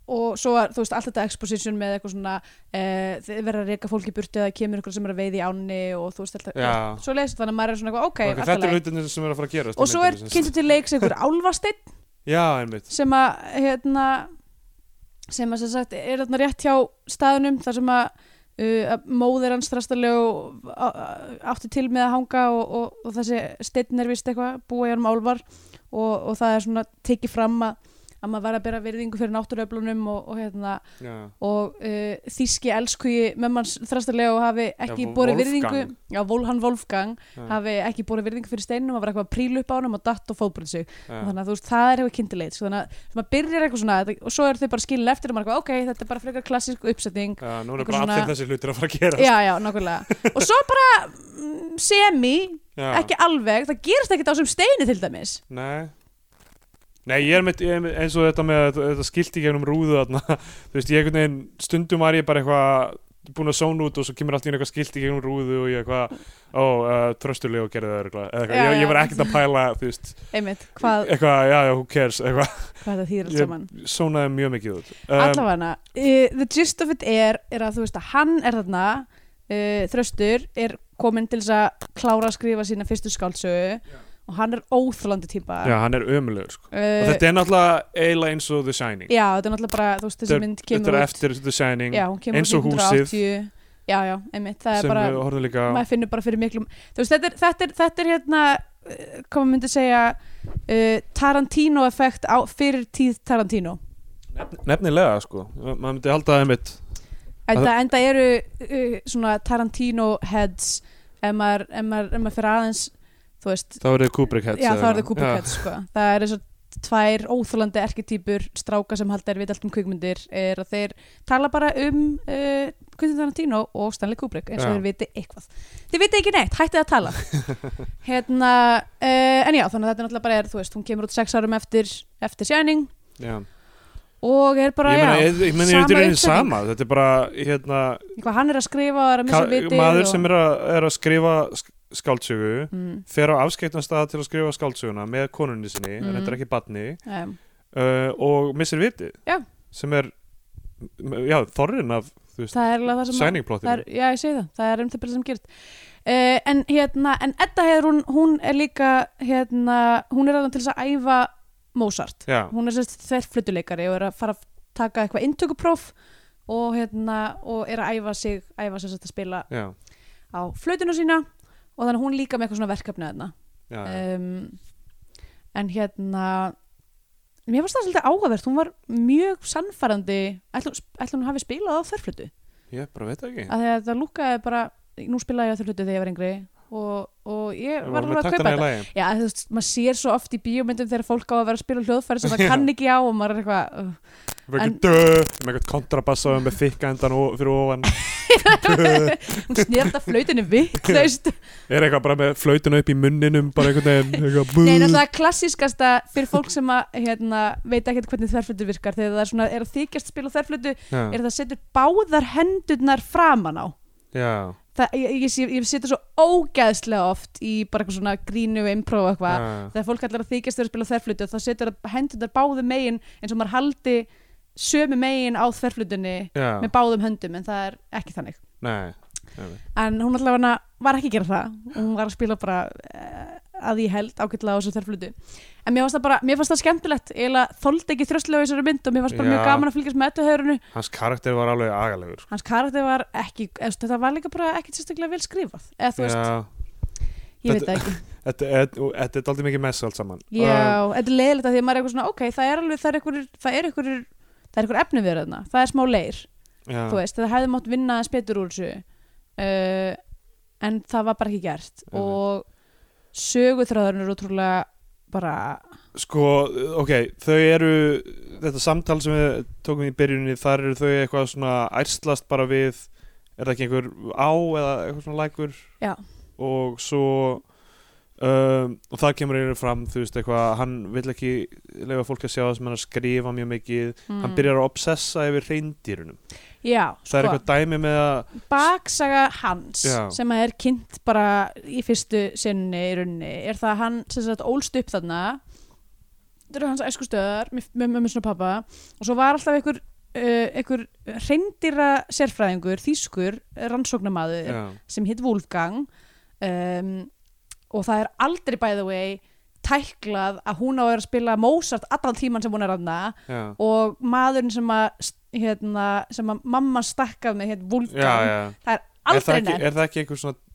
B: og svo er, þú veist, allt þetta exposition með eitthvað svona eh, þið verða að reyka fólki burti eða það kemur eitthvað sem er að veiði í ánni og þú veist, þetta,
C: Já.
B: svo leysið þannig að maður er svona eitthvað, ok,
C: Okay,
B: allt í
C: þetta er
B: lagi.
C: hlutinni sem er að fara að gerast í
B: og svo er
C: myndinni, sem sagt.
B: kynntu til leiks
C: (laughs)
B: einhver álfasteinn
C: já, einmitt
B: sem að, hérna sem að sem sagt, er þarna rétt hjá staðunum þar sem að Uh, að móðir hans þrastarlegu átti til með að hanga og, og, og þessi steinnir vist eitthvað búa í hann álvar og, og það er svona tekið fram að að maður var að bera virðingu fyrir náttúruöflunum og, og, hérna,
C: já,
B: og uh, þíski elskuji mömmans þrastarlega og hafi ekki
C: Vol-
B: borið
C: Wolfgang.
B: virðingu já, Vol, hann Wolfgang
C: Já.
B: hafi ekki borið virðingu fyrir steinum hann var eitthvað að prílu upp á hann og datt og fóbrið sig
C: já.
B: og þannig að þú veist, það er hefur kynntileit sko, þannig að maður byrjar eitthvað svona þetta- og svo eru þau bara skilin eftir og maður er eitthvað, ok, þetta er bara frekar klassísk uppsetning
C: já, nú er
B: eitthvað
C: bara allir
B: svona-
C: þessi hlutir að fara að gera
B: já, já, nákvæmlega og svo bara mm, semi,
C: já.
B: ekki alveg það gerist ekkert á sem steini til dæmis
C: Nei Nei, ég er með, ég er með eins og þetta með þetta, þetta skilti gegnum rúðu þarna (laughs) Þú veist, ég einhvern veginn, stundum var ég bara eitthvað búin að sóna út og svo kemur allt í einu eitthvað skilti gegnum rúðu og ég eitthvað ó, uh, tröstuleg og gerði það eitthvað, eitthvað.
B: Já,
C: Ég, ég var
B: já.
C: ekkert að pæla, þú veist
B: einmitt, hvað,
C: eitthvað, já, já, who cares, eitthvað
B: hvað það þýr allt saman
C: Ég um, sónaði mjög mikið út
B: allavega, uh, the gist of it er er að þú veist að hann er þarna uh, þröstur, er kominn til þess að klára að skrifa sína fyrstu skálsögu og hann er óþlandi típa
C: Já, hann er ömulegur, sko
B: Uh,
C: Og þetta er náttúrulega eiginlega eins og The Shining
B: já, þetta er náttúrulega bara, þú veist, þessi
C: Þetta er-
B: mynd
C: Þetta
B: kemur
C: er
B: út
C: eftir The Shining
B: já, hún kemur
C: eins og
B: út
C: húsið.
B: 1980. já, já, einmitt, það
C: sem
B: er bara
C: við horfum líka á.
B: maður finnur bara fyrir miklum þú veist, þetta er, þetta er, þetta er hérna eh, hvað maður myndi segja uh, Tarantino effekt á, fyrir tíð Tarantino
C: Nefnilega, sko, Ma- maður myndi halda það einmitt
B: enda, enda eru uh, svona Tarantino heads ef maður, ef maður, ef maður fyrir aðeins þú veist,
C: Þá er þið Kubrick heads
B: já
C: eða
B: þá er
C: eitthvað.
B: það Kubrick heads sko. það er eins og tvær óþólandi erketýpur stráka sem halda er við allt um kvikmyndir er að þeir tala bara um uh, Quentin Tarantino og Stanley Kubrick eins og
C: Já.
B: þeir viti eitthvað þeir viti ekki neitt, hættið að
C: (laughs)
B: tala hérna, uh, en já þannig að þetta er náttúrulega bara er, þú veist, hún kemur út sex árum eftir eftir Shining
C: Já.
B: og er bara,
C: ég meina,
B: já,
C: ég, ég meina, þetta er einu
B: uppsetning.
C: sama þetta er bara, hérna
B: eitthvað hann er að skrifa og er að missa
C: ka-
B: viti
C: maður
B: og...
C: sem er að, er að skrifa sk- skáldsögu
B: mm,
C: fer á afskeittan stað til að skrifa skáldsöguna með konunni sinni,
B: Mhm.
C: en þetta er ekki badni
B: um,
C: uh, og missir viti
B: Já.
C: sem er, m- já, þorrin af
B: það er alveg það sem að-
C: sæningplottinu
B: það er, já ég segi það, það er um það sem gerist uh, en hérna, en Edda hefur hún, hún er líka hérna, hún er aðan til þess að æfa Mozart,
C: já,
B: hún er sérst þverflutuleikari og er að fara að taka eitthvað inntökupróf og hérna og er að æfa sig, æfa sérst að spila
C: já,
B: á flutinu sína og þannig að hún er líka með eitthvað svona verkefni þarna
C: já, já.
B: um, en hérna mér fannst það svolítið áhugavert hún var mjög sannfærandi ætlum, ætlum hún hafi spilað á þörflutu
C: ég bara veit það ekki
B: að því að það lúkaði bara nú spilaði ég á þörflutu þegar ég var yngri og, og ég
C: Við
B: var alveg
C: vorum
B: að kaupa
C: taktana í
B: þetta
C: lagi.
B: já, þú veist, maður sér svo oft í bíómyndum þegar fólk á að vera að spila á hljóðfæri sem það kann ekki á og maður er eitthvað uh,
C: Við
B: En-
C: erum döð, með eitthvað kontrabassa og með þykka endan ó- fyrir ofan
B: hún snýrta flautinni vittlaust
C: er eitthvað bara með flautuna upp í munninum bara einhvern veginn eitthvað bú.
B: Nei, náttúrulega klassískasta fyrir fólk sem að, hérna, veit ekkert hvernig þverflutur virkar þegar það er, svona, er að þykjast spila á þverflutu
C: Já.
B: er það setur báðar hendurnar framan á
C: Já,
B: það, ég, ég, ég, ég setur svo ógæðslega oft í bara eitthvað svona grínu improv og eitthvað,
C: já,
B: þegar fólk allar að þykjast þegar að spila þverflutu, þá setur það hendurnar báðu megin eins og maður haldi sömu megin á þverflutunni
C: já,
B: með báðum höndum, en það er ekki þannig
C: nei nei.
B: en hún allar var ekki að gera það hún var að spila bara eh, að ég held ágætlega á þessu þverflutu en mér fannst það bara, mér fannst það skemmtilegt eiginlega þóldi ekki þröstlega á þessari mynd og mér fannst bara mjög
C: Já.
B: gaman að fylgjast með þetta
C: Hans karakter var alveg agalegur sko.
B: hans karakter var ekki eða, þú veist, þetta var líka bara ekkert sérstaklega vel skrifað eða þú veist,
C: Já,
B: ég veit það ekki
C: þetta er- og þetta er daldið mikið mess allt saman
B: já, þetta er leiðilegt að því að maður er eitthvað svona ok, það er alveg, það er einhverjur það er einhverjur, það er einhverjur efni við þarna það er smá leir,
C: já,
B: þú veist, það hefði mátt vinna aðeins betur úr þessu uh, en það var bara ekki gert
C: Einmitt.
B: og söguþráðurinn er ótrúlega bara,
C: Sko, ok, þau eru þetta samtal sem við tókum í byrjunni þar eru þau eitthvað svona ærslast bara við, er það ekki einhver á eða eitthvað svona lækur
B: Já.
C: og svo um, og það kemur einu fram þú veist eitthvað, hann vill ekki lefa fólk að sjá það sem hann er að skrifa mjög mikið
B: mm,
C: hann byrjar að obsessa yfir reyndýrunum
B: já,
C: það er
B: sko,
C: eitthvað dæmi með að
B: baksaga hans
C: Já.
B: sem að er kynnt bara í fyrstu sinni í runni er það að hann sem sagt ólst upp þarna þetta eru hans æskustöðar með mömmu svona pappa og svo var alltaf einhver uh, einhver reyndýra sérfræðingur, þýskur rannsóknamaður
C: já,
B: sem hitt Wolfgang um, og það er aldrei by the way tæklað að hún á að vera að spila Mozart allan tíman sem hún er aðna
C: já,
B: og maðurinn sem að hérna, sem að mamma stakkað með hérna Wolfgang,
C: já, já.
B: það er
C: Er, það
B: aldrei
C: ekki,
B: nefnt
C: er það ekki einhver svona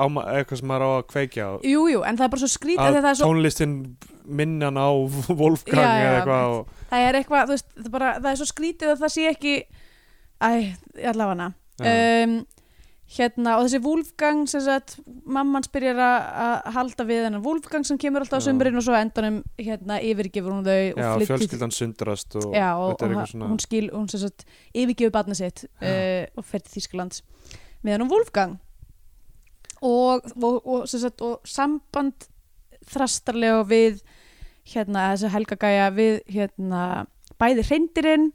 C: áma, eitthvað sem maður á að kveikja á
B: Jú, jú, en það er bara svo skrítið
C: að
B: þegar það er svo
C: tónlistin minna hann á (laughs) Wolfgang
B: Já, já,
C: eða
B: já,
C: eitthvað og,
B: það er eitthvað, þú veist, það, er bara, það er svo skrítið að það sé ekki æ, allavega
C: já,
B: um, hérna, og þessi Wolfgang sem sagt, mamman spyrjar að að halda við hennar Wolfgang sem kemur alltaf á
C: Já.
B: sömurinn og svo á endanum, hérna, yfirgefur hún þau og
C: já
B: flytur-
C: fjölskyldan sundrast og
B: já, og, og
C: þetta er eitthvað svona
B: hún skil, hún sem sagt yfirgefur barna sitt uh, og fer til Þýskalands meðan hún Wolfgang og, og, og, sem sagt, og samband þrastarlega við hérna þessu helgagæja við hérna bæði hreindirinn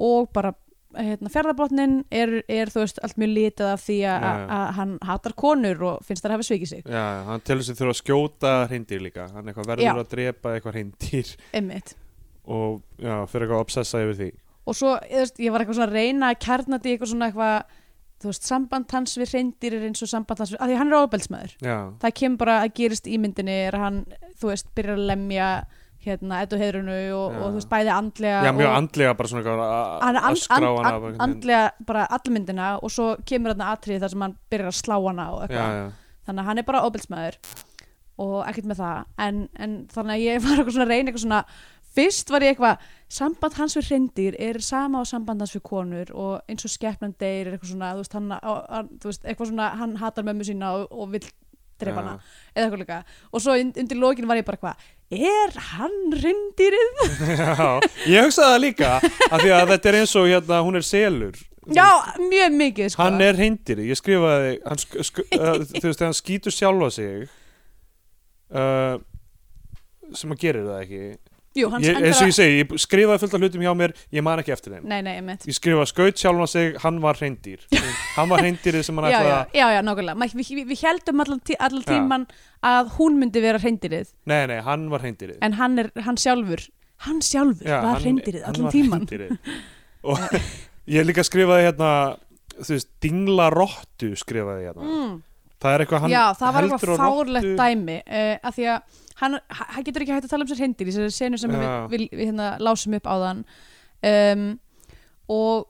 B: og bara hérna, fjárðabotnin er, er þú veist allt mjög litað af því að
C: Já, já.
B: að hann hatar konur og finnst þær að hafa svikið sig
C: Já, hann telur sem þurfa að skjóta hreindýr líka hann eitthvað verður
B: Já.
C: að drepa eitthvað hreindýr (laughs)
B: einmitt
C: og já, fyrir eitthvað að obsessa yfir því
B: og svo ég, veist, ég var eitthvað svona að reyna að kjarna þetta í eitthvað svona eitthvað þú veist, samband hans við reyndir er eins og samband hans við, að því að hann er ofbeldismæður
C: Já,
B: það kemur bara að gerist í myndinni er að hann, þú veist, byrjar að lemja hérna, eddu heiðrunu og,
C: Já.
B: og þú veist, bæði andlega
C: já mjög
B: og,
C: andlega bara svona eitthvað að-
B: hann
C: að
B: er and,
C: öskra á
B: and,
C: hana
B: and,
C: bara einhvern veginn.
B: andlega bara allmyndina og svo kemur hann atrið þar sem hann byrjar að slá hana og
C: Já,
B: eitthvað
C: já,
B: þannig að hann er bara ofbeldismæður og ekkert með það en, en þannig að ég var eitthvað svona að reyna eitthvað svona fyrst var ég eitthvað samband hans við hreindir er sama á samband hans við konur og eins og skepnan deyr er eitthvað svona, þú veist, hann, á- hann, þú veist eitthvað svona, hann hatar mömmu sína og, og vill drepa hana, eða eitthvað líka og svo und- undir lokin var ég bara eitthvað er hann hreindirinn?
C: (laughs) Já, ég hugsaði það líka af því að þetta er eins og hérna, hún er selur
B: Já, mjög mikið sko.
C: hann er hindir, ég skrifaði hann, sk sk uh, þú veist, þegar hann skýtur sjálfa sig uh, sem hann gerir það ekki
B: Jú, hann
C: ég, eins og ég segi, ég skrifaði fullt af hlutum hjá mér ég man ekki eftir þeim
B: Nei, nei, einmitt
C: ég skrifaði skaut sjálfa sig, hann var hindir hann var hindirið sem hann
B: já,
C: ætlaði
B: já,
C: að
B: já, já, nákvæmlega Mæ- við, við, við heldum allan, tí, allan
C: Já.
B: tíman að hún myndi vera hreindirið
C: nei, nei, hann var hindirið
B: en hann, er, hann sjálfur hann sjálfur var hreindirið allan tíman
C: og (laughs) ég líka skrifaði hérna þú veist, dingla rottu skrifaði ég hérna
B: mm.
C: það er eitthvað hann
B: já, það var
C: heldur á
B: eitthvað fárlegt
C: rottu-
B: dæmi uh, af því að hann, hann getur ekki hægt að tala um sér hindir í þessari senu sem við,
C: Já.
B: við, við hérna, lásum upp á þann um, og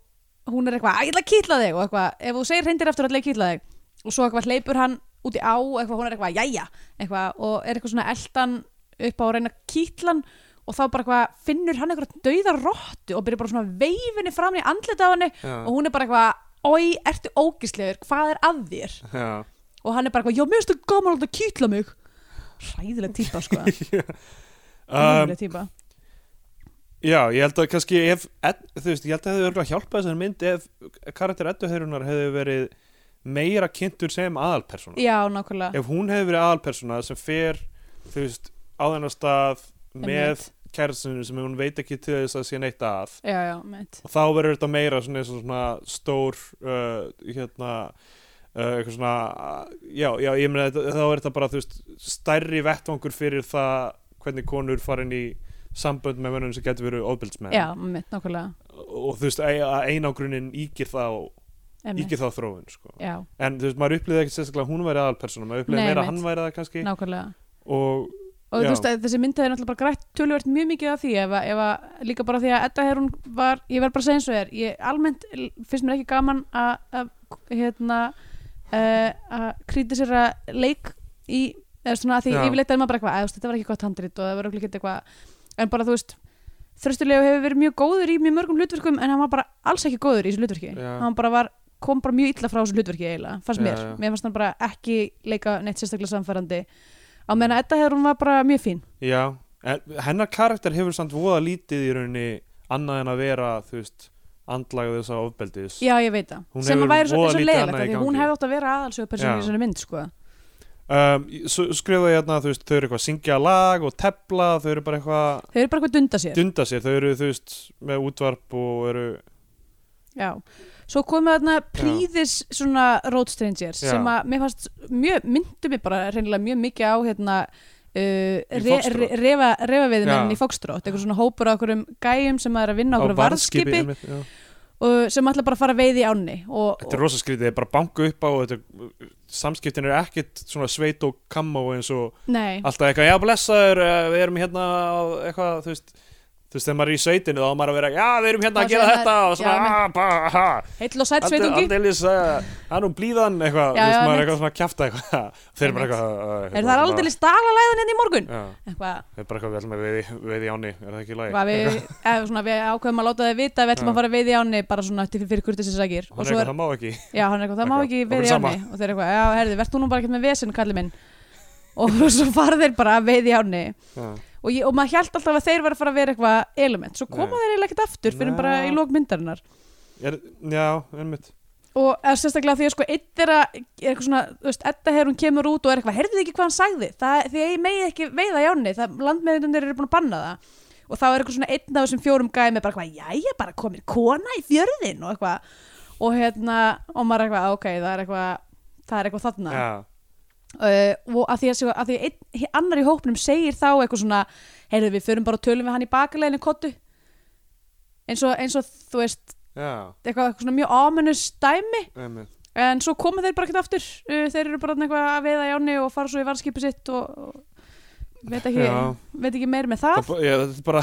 B: hún er eitthvað, "Æ, ég ætla að kýtla þig og eitthvað, ef þú segir hindir aftur ætla ég að kýtla þig og svo eitthvað hleypur hann út í á og eitthvað, hún er eitthvað, jæja eitthvað, og er eitthvað svona eldan upp á að reyna kýtlan og þá bara eitthvað, finnur hann eitthvað dauða rottu og byrjar bara svona veifinni fram í andlita á henni
C: Já.
B: og hún er bara eitthvað, oi, ertu ógislegur hvað er að þér?
C: Já.
B: og hann er bara eitthvað, já, mér finnst það gaman að láta kýtla mig hræðileg típa, (laughs) sko
C: Um,
B: hræðileg típa
C: já, ég held að kannski ef, ed, þú veist, ég held að það hefði örugglega hjálpað þessari mynd ef karakter edduheyrunar hefði verið meira kynntur sem aðalpersona
B: já, nákvæmlega
C: ef hún hefði verið aðalpersona sem fer þú veist, á þennar stað með
B: Einmitt.
C: kærastinu sem hún veit ekki til þess að sé neitt að
B: já, já, mitt
C: og þá verður þetta meira svona, eins og svona stór uh, hérna uh, eitthvað svona uh, já, já, ég meina þetta- þá er þetta bara þú veist, stærri vettvangur fyrir það hvernig konur farin í sambönd með mönnum sem getur verið ofbildsmenn
B: já, mitt, nákvæmlega
C: og þú veist, ei- að einangrunin ígir þá,
B: Einmitt.
C: ígir þá þróun sko.
B: já,
C: en þú veist, maður upplýði ekki sérstaklega að hún væri aðalpersona, maður upplýði
B: Nei,
C: meira að
B: einmitt.
C: hann væri það kannski
B: nákvæmlega
C: og
B: og
C: Já.
B: þú veist að þessi mynd hefði náttúrulega bara grætt töluvert mjög mikið af því ef að, ef að líka bara því að Edda Herún var, ég verð bara að segja eins og þér ég almennt l- finnst mér ekki gaman að, að hérna eh, að kritisera leik í, eða svona að því
C: Já.
B: yfirleitt er maður bara eitthvað, að þú veist, þetta var ekki gott handrit og það var ekki eitthvað, en bara þú veist þröstulegu hefur verið mjög góður í mjög mörgum hlutverkum en hann var bara alls ekki góður í þessu hlutverki
C: Já.
B: hann bara var, kom bara mjög illa frá þessu hlutverki eiginlega, fannst
C: Já,
B: mér,
C: já.
B: mér fannst hann bara ekki leika neitt sérstaklega samfærandi á meðan að Edda Herún var bara mjög fín
C: Já, en hennar karakter hefur samt voða lítið í rauninni annað en að vera, þú veist, andlaga þessa ofbeldis.
B: Já, ég veit það.
C: Hún
B: Sem
C: hefur
B: að væri svo,
C: voða
B: er svo
C: lítið
B: leiðilegt
C: annað í
B: af því
C: gangi.
B: hún hefði átt að vera aðalsögu persónu í
C: Já.
B: þessari mynd, sko.
C: Um, svo skrifaði ég hérna, þú veist, þau eru eitthvað að syngja lag og tepla, þau eru bara eitthvað að
B: Þau eru bara eitthvað að dunda sér.
C: dunda sér, þau eru, þú veist, með útvarp og eru,
B: Já. Svo komið þarna príðis svona Road Strangers
C: Já.
B: sem að mér fannst mjög, myndu mig bara reynilega mjög mikið á hérna uh, re, re,
C: Foxtrot.
B: refa, refaveiðimenn
C: Já.
B: í Foxtrot, eitthvað svona hópur af okkurum gæjum sem að er að vinna okkur varðskipi
C: einmitt, já.
B: og sem ætla bara að fara að veiði í ánni og,
C: Þetta er
B: og,
C: rosa skrítið, það er bara að banka upp á og þetta, samskiptin eru ekkit svona sveit og kammo eins og
B: nei,
C: alltaf eitthvað, já blessaður, eh, við erum hérna á eitthvað, þú veist þú veist, þegar maður er í sveitinu þá á maður að vera, já, við erum hérna
B: Já,
C: að gera
B: svona-
C: þetta og svona,
B: já,
C: ah, ba, ha
B: heill og sætt sveitungi
C: Andeilis, hann um blíðan
B: Já,
C: eitthvað, þú veist,
B: já, einmitt.
C: maður er eitthvað svona að kjafta eitthvað (laughs) þeir eru bara
B: Einmitt.
C: eitthvað uh,
B: er það
C: hérna,
B: aldrei stalalæðan enn í morgun
C: Já,
B: eitthvað,
C: þeir eru bara eitthvað, við ætlum að veiði, veiði áni er það ekki í lagi?
B: hvað við,
C: (laughs)
B: eða svona við ákveðum að láta þið vita að við ætlum
C: Já.
B: að fara að veiði áni bara svona eftir fyrir kurtisins sagir
C: Hún
B: og svo
C: er eitthvað,
B: er,
C: það má ekki
B: já hann er eitthvað, það má
C: Eitthvað,
B: ekki
C: okkur er
B: veiði
C: sama.
B: áni og þeir eru eitthvað, já herði, verð þú nú bara ekkert með vesen kalli minn og (laughs) svo fara þeir bara að veiði áni
C: Já.
B: og, ég, og maður hjælt alltaf að þeir var að fara að vera eitthvað element, svo koma
C: Nei.
B: þeir eiginlega ekkert aftur fyrir bara
C: Nei.
B: í lók myndarinnar
C: Er, já, einmitt
B: og eða, sérstaklega því að sko eitt þeirra er eitthvað svona, þú veist, Edda hefur hún kemur út og er eitthvað, heyrðu þið ekki hvað hann sagði það, því að ég megi ekki veiða jáni, það landmeðunir eru búin að banna það og þá er eitthvað svona einn af þessum fjórum gæmi bara eitthvað, jæja, bara komir kona í fjörðin og eitthvað, og hérna og maður er eitthvað, ok, það er eitthvað það er eitthvað þarna
C: Já,
B: uh, og að því að, sko, að því að einn, hi- annar í hópnum segir þá eitthvað svona heyrðu við förum bara og tölum við hann í bakaleginu kottu eins og, eins og þú veist
C: já,
B: eitthvað, eitthvað svona mjög ominous dæmi
C: einmitt
B: en svo koma þeir bara ekkert aftur uh, þeir eru bara þarna eitthvað að veiða í áni og fara svo í varskipi sitt og, og veit, ekki,
C: Já.
B: veit ekki meir með það
C: Það, já, þetta er bara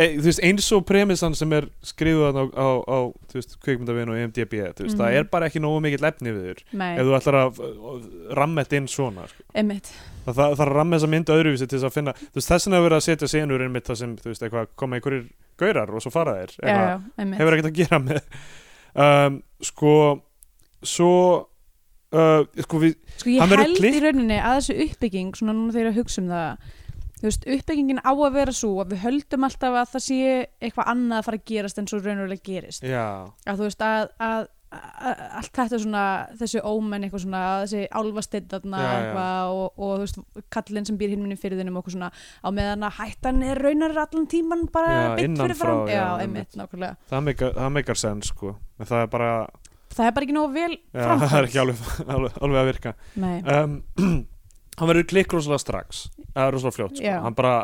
C: e, þú veist, eins og premissan sem er skrifuð þarna á, á, á þú veist, kvikmyndavinn og E IMDb þú veist, það
B: Mhm.
C: er bara ekki nógu mikill efni við þur
B: Nei,
C: ef þú ætlar að rammet inn svona sko.
B: einmitt
C: það það þarf að ramma þessa mynd öðruvísi til þess að finna þú veist, þessin að vera að setja senur einmitt það sem, þú veist, eitthvað koma einhverjir gaurar og svo fara þeir
B: Já,
C: eitthvað,
B: já, einmitt
C: hefur ekkert að gera með um, sko svo uh, sko við
B: Sko ég
C: Hann verður
B: held í
C: klipp-
B: rauninni að þessu uppbygging svona núna þegar ég er að hugsa um það þú veist, uppbyggingin á að vera svo að við höldum alltaf að það sé eitthvað annað að fara að gerast en svo raunulega gerist
C: já,
B: að þú veist að, að, að, að allt þetta svona þessi ómenn eitthvað svona þessi álfasteytarna
C: Já, já.
B: eitthvað og, og þú veist kallinn sem býr hinn minni fyrir þinnum okkur svona á meðan að hættan er raunar allan tíman bara
C: Já,
B: beint
C: innan
B: fyrir fram
C: frá,
B: já,
C: já,
B: einmitt, nákvæmlega
C: það meikar, það meikar sens sko, en það er bara
B: það er bara ekki nógu vel
C: já,
B: framkvæmt.
C: það er ekki alveg, alveg, alveg að virka
B: Nei.
C: um, (clears throat) hann verður klikk rosalega strax það er rosalega fljótt sko.
B: Já.
C: hann bara,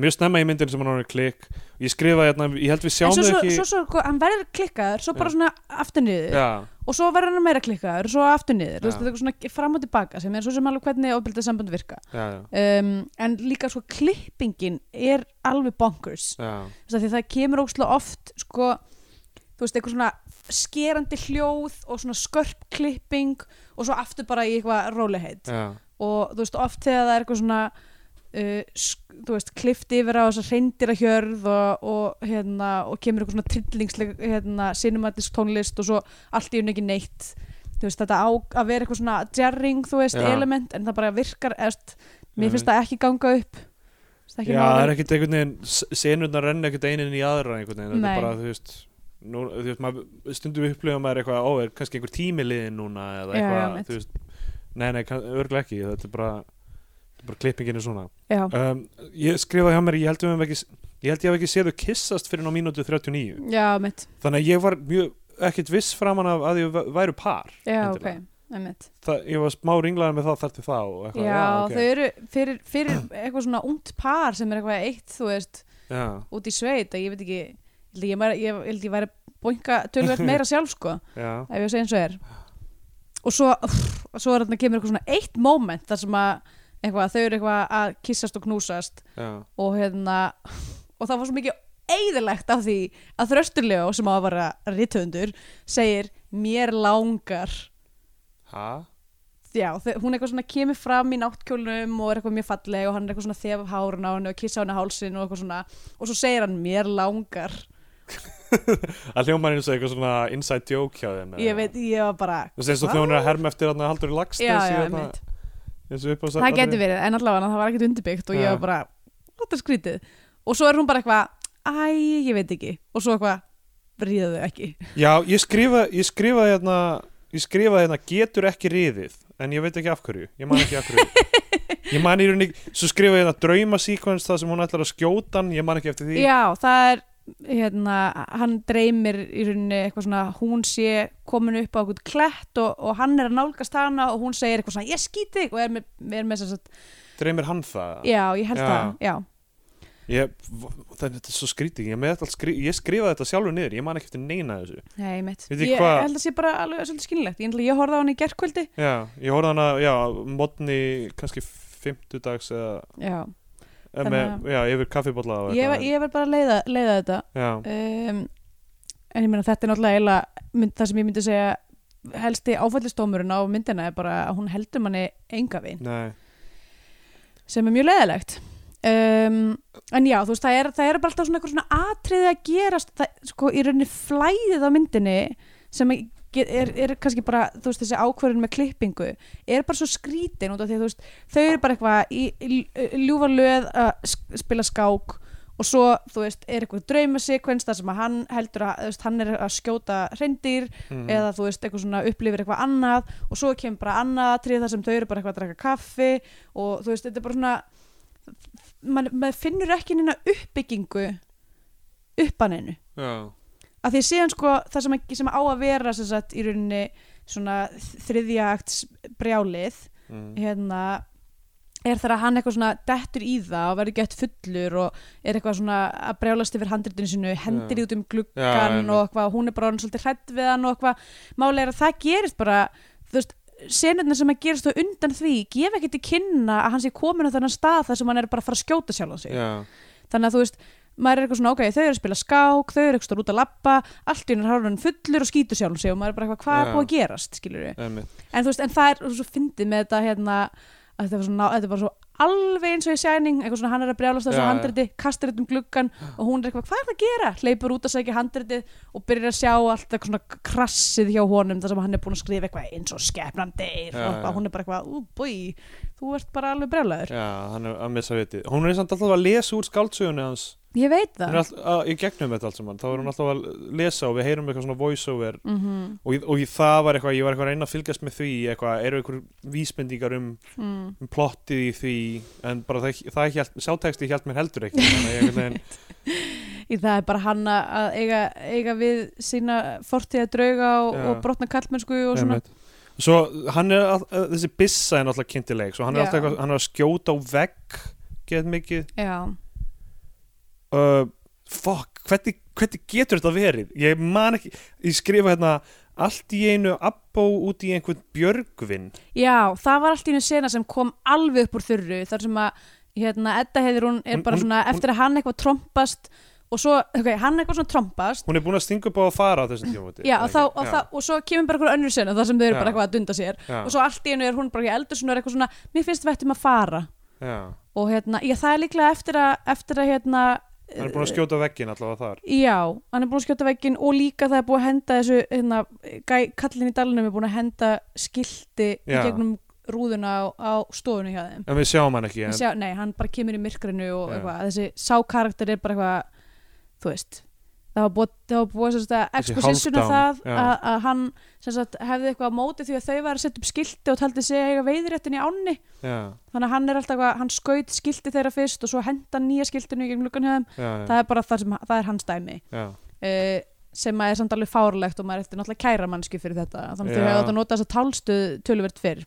C: mjög snemma í myndin sem hann verður klikk ég skrifa hérna, ég held við
B: en
C: sjáum
B: svo,
C: þau
B: svo,
C: ekki
B: svo, svo, sko, hann verður klikkaður svo bara
C: Já.
B: svona aftur niður
C: já,
B: og svo verður hann meira klikkaður og svo aftur niður, þú veist,
C: Já.
B: þetta er svona fram og tilbaka sem er svo sem alveg hvernig ofbeldið samband virka
C: já, já,
B: um, en líka sko klippingin er alveg bonkers
C: já,
B: þú veist, af því það kemur ókslega oft sko, þú veist, eitthvað svona skerandi hljóð og svona skörp klipping og svo aftur bara í eitthvað róleheit
C: já.
B: og þú veist, oft þegar það er eitthvað svona uh, sk- þú veist, klift yfir á þessar hreindýra hjörð og, og hérna, og kemur eitthvað svona trillingsleg hérna, cinematisk tónlist og svo allt í unni ekki neitt þú veist, þetta á að vera eitthvað svona jarring, þú veist,
C: Já.
B: element en það bara virkar, eðst,
C: Einmitt.
B: mér finnst það ekki ganga upp Þú veist, ekki
C: já
B: náð
C: það
B: upp.
C: er ekkert einhvern veginn s- senurnar renna ekkert einin í aðra einhvern veginn, þetta
B: Nei.
C: er bara, þú veist Nú, þú veist, maður stundum upplifa maður eitthvað, ó, er kannski einhver tími liðin núna
B: Já,
C: eða
B: já,
C: eitthvað,
B: mitt.
C: þú veist nei, nei, kann- örugglega ekki, þetta er bara, þetta er bara klippingin er svona
B: Já.
C: um, ég skrifaði hjá mér, ég held, við höfum ekki, ég held ég hef ekki séð þau kissast fyrir ná mínútu 39
B: já, mitt
C: þannig að ég var mjög ekkert viss framan af að ég væ- væru par
B: Já, ok,
C: Endilega.
B: einmitt.
C: það, ég var smá ringlaður með það þar til þá og
B: Já,
C: eitthvað, já, ok.
B: þau eru fyrir, fyrir eitthvað svona ungt par sem er eitthvað eitt, þú veist,
C: já,
B: út í sveit að ég veit ekki, ég held ég, væri- ég, held ég væri bónga tölvöld
C: (laughs)
B: meira sjálf, sko
C: já,
B: ef ég segi eins og er og svo, uff, svo er þarna kemur eitthvað svona eitt moment þar sem að eitthvað, þau eru eitthvað að kyssast og knúsast
C: já,
B: og hérna og það var svo mikið eðilegt af því að þröstulegu sem á að vara rithundur segir mér langar
C: ha?
B: já, þau- hún eitthvað svona kemur fram í náttkjólnum og er eitthvað mjög falleg og hann er eitthvað svona þef af hárun á henni og kissa á henni á hálsin og eitthvað svona og svo segir hann mér langar
C: að hljómar eins og eitthvað svona inside joke hjá þeim
B: ég veit, ég var bara
C: þú veist eins og
B: Hva?
C: þjónur að herma eftir hann að haldur í lagstins
B: já, já, einmitt.
C: eins og upp á
B: það getur verið, en allavega það var ekkert undirbyggt og ég
C: Já.
B: var bara, þetta er skrítið og svo er hún bara eitthvað, æ, ég veit ekki og svo eitthvað, ríða þau ekki
C: já, ég skrifa, ég skrifa hérna ég skrifa hérna getur ekki riðið en ég veit ekki af hverju, ég man ekki af hverju
B: (laughs)
C: ég man í rauninni, svo skrifa ég hérna draumasíkvens það sem hún ætlar að skjóta hann ég man ekki eftir því
B: Já, það er hérna, hann dreymir í rauninni eitthvað svona, hún sé komin upp á eitthvað klett og, og hann er að nálgast hana og hún segir eitthvað svona, ég skýti þig og er með, er með þess að,
C: dreymir hann það
B: já, ég held
C: Já.
B: það já,
C: Ég, v- það, þetta er svo skrítið, ég, með þetta allt skri, ég skrifaði þetta sjálfur niður, ég man ekki eftir neina af þessu
B: nei, mitt
C: Veitir
B: ég
C: hvað-
B: held að sé bara alveg svolítið skynlegt ég, ég horfði á hann í gerkvöldi
C: Já, ég horfði hana, já, modni kannski fimmtudags eða
B: já.
C: Eh,
B: Þannig
C: með, já, yfir kaffibólla og
B: ég, ver- ég verð bara að leiða, leiða þetta
C: já,
B: um, en ég meina þetta er náttúrulega eiginlega, mynd, það sem ég myndi segja helsti áfællistómurinn á myndina er bara að hún heldur manni enga veginn
C: nei,
B: sem er mjög leðilegt um, en já, þú veist, það er, það er bara alltaf svona eitthvað svona atriði að gerast það, sko, í rauninni flæðið á myndinni sem er, er, er kannski bara þú veist, þessi ákvörðin með klippingu er bara svo skrítin út af því að þú veist þau eru bara eitthvað í, í ljúfa löð að sk- spila skák og svo, þú veist, er eitthvað draumasekvens þar sem að hann heldur að, þú veist, hann er að skjóta hreindir
C: mm,
B: eða þú veist, eitthvað svona upplifir eitthvað annað og svo kemur bara annað atrið þar sem þau eru bara eitthvað að draka kaffi og þú veist, þetta er bara svona maður mað finnur ekki neina uppbyggingu uppaninu
C: já,
B: að því síðan sko það sem, sem á að vera sem sagt, í rauninni svona þriðja akts brjálið
C: mm,
B: hérna er þegar hann eitthvað svona dettur í það og verður gett fullur og er eitthvað svona að brjálast yfir handritinu sinu hendir
C: Já.
B: í út um
C: Já,
B: gluggan
C: einmitt.
B: og eitthvað, hún er bara orðin svolítið hrætt við hann og eitthvað, málega er að það gerist bara, þú veist, senurnar sem að gerist og undan því, gefa ekki til kynna að hann sé komin á þennan stað þar sem hann er bara að fara að skjóta sjálfan sig
C: já,
B: þannig að þú veist maður er eitthvað svona, ok, þau eru að spila skák þau eru eitthvað út að labba, allt í hennar hálfurinn fullur og skýtur sjálfum sig og maður er bara eitthvað, hvað er
C: Já.
B: búið að gerast, skilur
C: einmitt
B: en þú veist, en það er svo fyndið með þetta hérna, að þetta var svona, þetta var svo alveg eins og í sæning, eitthvað svona hann er að brjálast á
C: Já,
B: þessu
C: já.
B: handriti, kastar þetta um gluggan og hún er eitthvað, hvað er það að gera, hleypur út að segja handritið og byrjar að sjá allt eitthvað svona krassið hjá honum, þar sem hann er búin að skrifa eitthvað eins og skepnan deyr
C: Já,
B: og eitthvað,
C: já.
B: hún er bara eitthvað, ú, búi þú ert bara alveg brjálæður,
C: já, hann er að missa vitið hún er samt alltaf að lesa úr skáldsögunni hans
B: ég veit
C: hún
B: það
C: er alltaf, að, í gegnum þetta allt saman þá er hún alltaf að lesa og við heyrum eitthvað svona voiceover
B: mm -hmm.
C: og, og í það var eitthvað, ég var eitthvað að reyna að fylgjast með því eitthvað, eru eitthvað vísbendingar um,
B: mm.
C: um plottið í því en bara það, það hjælt, sáteksti hjælt mér heldur ekki þannig að ég einhvern veginn-
B: Í það er bara hann að- að eiga, eiga við sína fortíða drauga og,
C: Já.
B: og brotna kallmennsku og svona.
C: Einmitt. Svo hann er all, eh, þessi byssa er náttúrulega kynntileg svo hann er
B: Já.
C: alltaf eitthvað, hann er að skjóta á vegg get mikið
B: Já,
C: uh, fuck, hvernig, hvernig getur þetta verið ég man ekki, ég skrifa hérna allt í einu abbó út í einhvern björgvin
B: Já, það var allt í einu sena sem kom alveg upp úr þurru þar sem að hérna, Edda heiðir hún er
C: Hún-
B: bara
C: hún-
B: svona eftir að hann eitthvað trompast og svo, ok, hann eitthvað svona trompast
C: hún er búin að stinga upp á að fara á þessum tímafóti
B: Já, og, þá, og, það, og svo kemur bara eitthvað önnur sena þar sem þau eru
C: Já.
B: bara eitthvað að dunda sér
C: já,
B: og svo allt í einu er hún bara ekki eldur svona eitthvað svona, mér finnst við ættum að fara
C: já.
B: og hérna, já, það er líklega eftir að, eftir að hérna
C: hann er búin að skjóta á veggin allavega þar
B: Já, hann er búin að skjóta veggin og líka það er búin að henda þessu hérna, gæ, kallin í dalnum er búin að henda skilti í
C: Já.
B: gegnum rúðuna á, á stofunni hjá þeim
C: en við sjáum hann ekki
B: yeah.
C: en,
B: sjá, Nei, hann bara kemur í myrkrinu og
C: Já.
B: eitthvað þessi sákarakter er bara eitthvað þú veist, það var búið, það var búið sem sagt, að
C: Þessi
B: exposition af
C: hálfdán,
B: það
C: já.
B: að, að hann sem sagt, hefði eitthvað á móti því að þau var að setja upp skilti og taldi sig eiga veiðréttin í ánni
C: já,
B: þannig að hann er alltaf eitthvað, hann skaut skilti þeirra fyrst og svo henda nýja skiltinu í gegnum lukkan hjá þeim
C: já, já,
B: það er bara það sem, það er hans dæmi
C: já.
B: uh, sem að er samt alveg fárlegt og maður eftir náttúrulega kæra mannsku fyrir þetta þannig að þau
C: Já.
B: hefðu átt að nota þess að tálstuð töluvert fyrr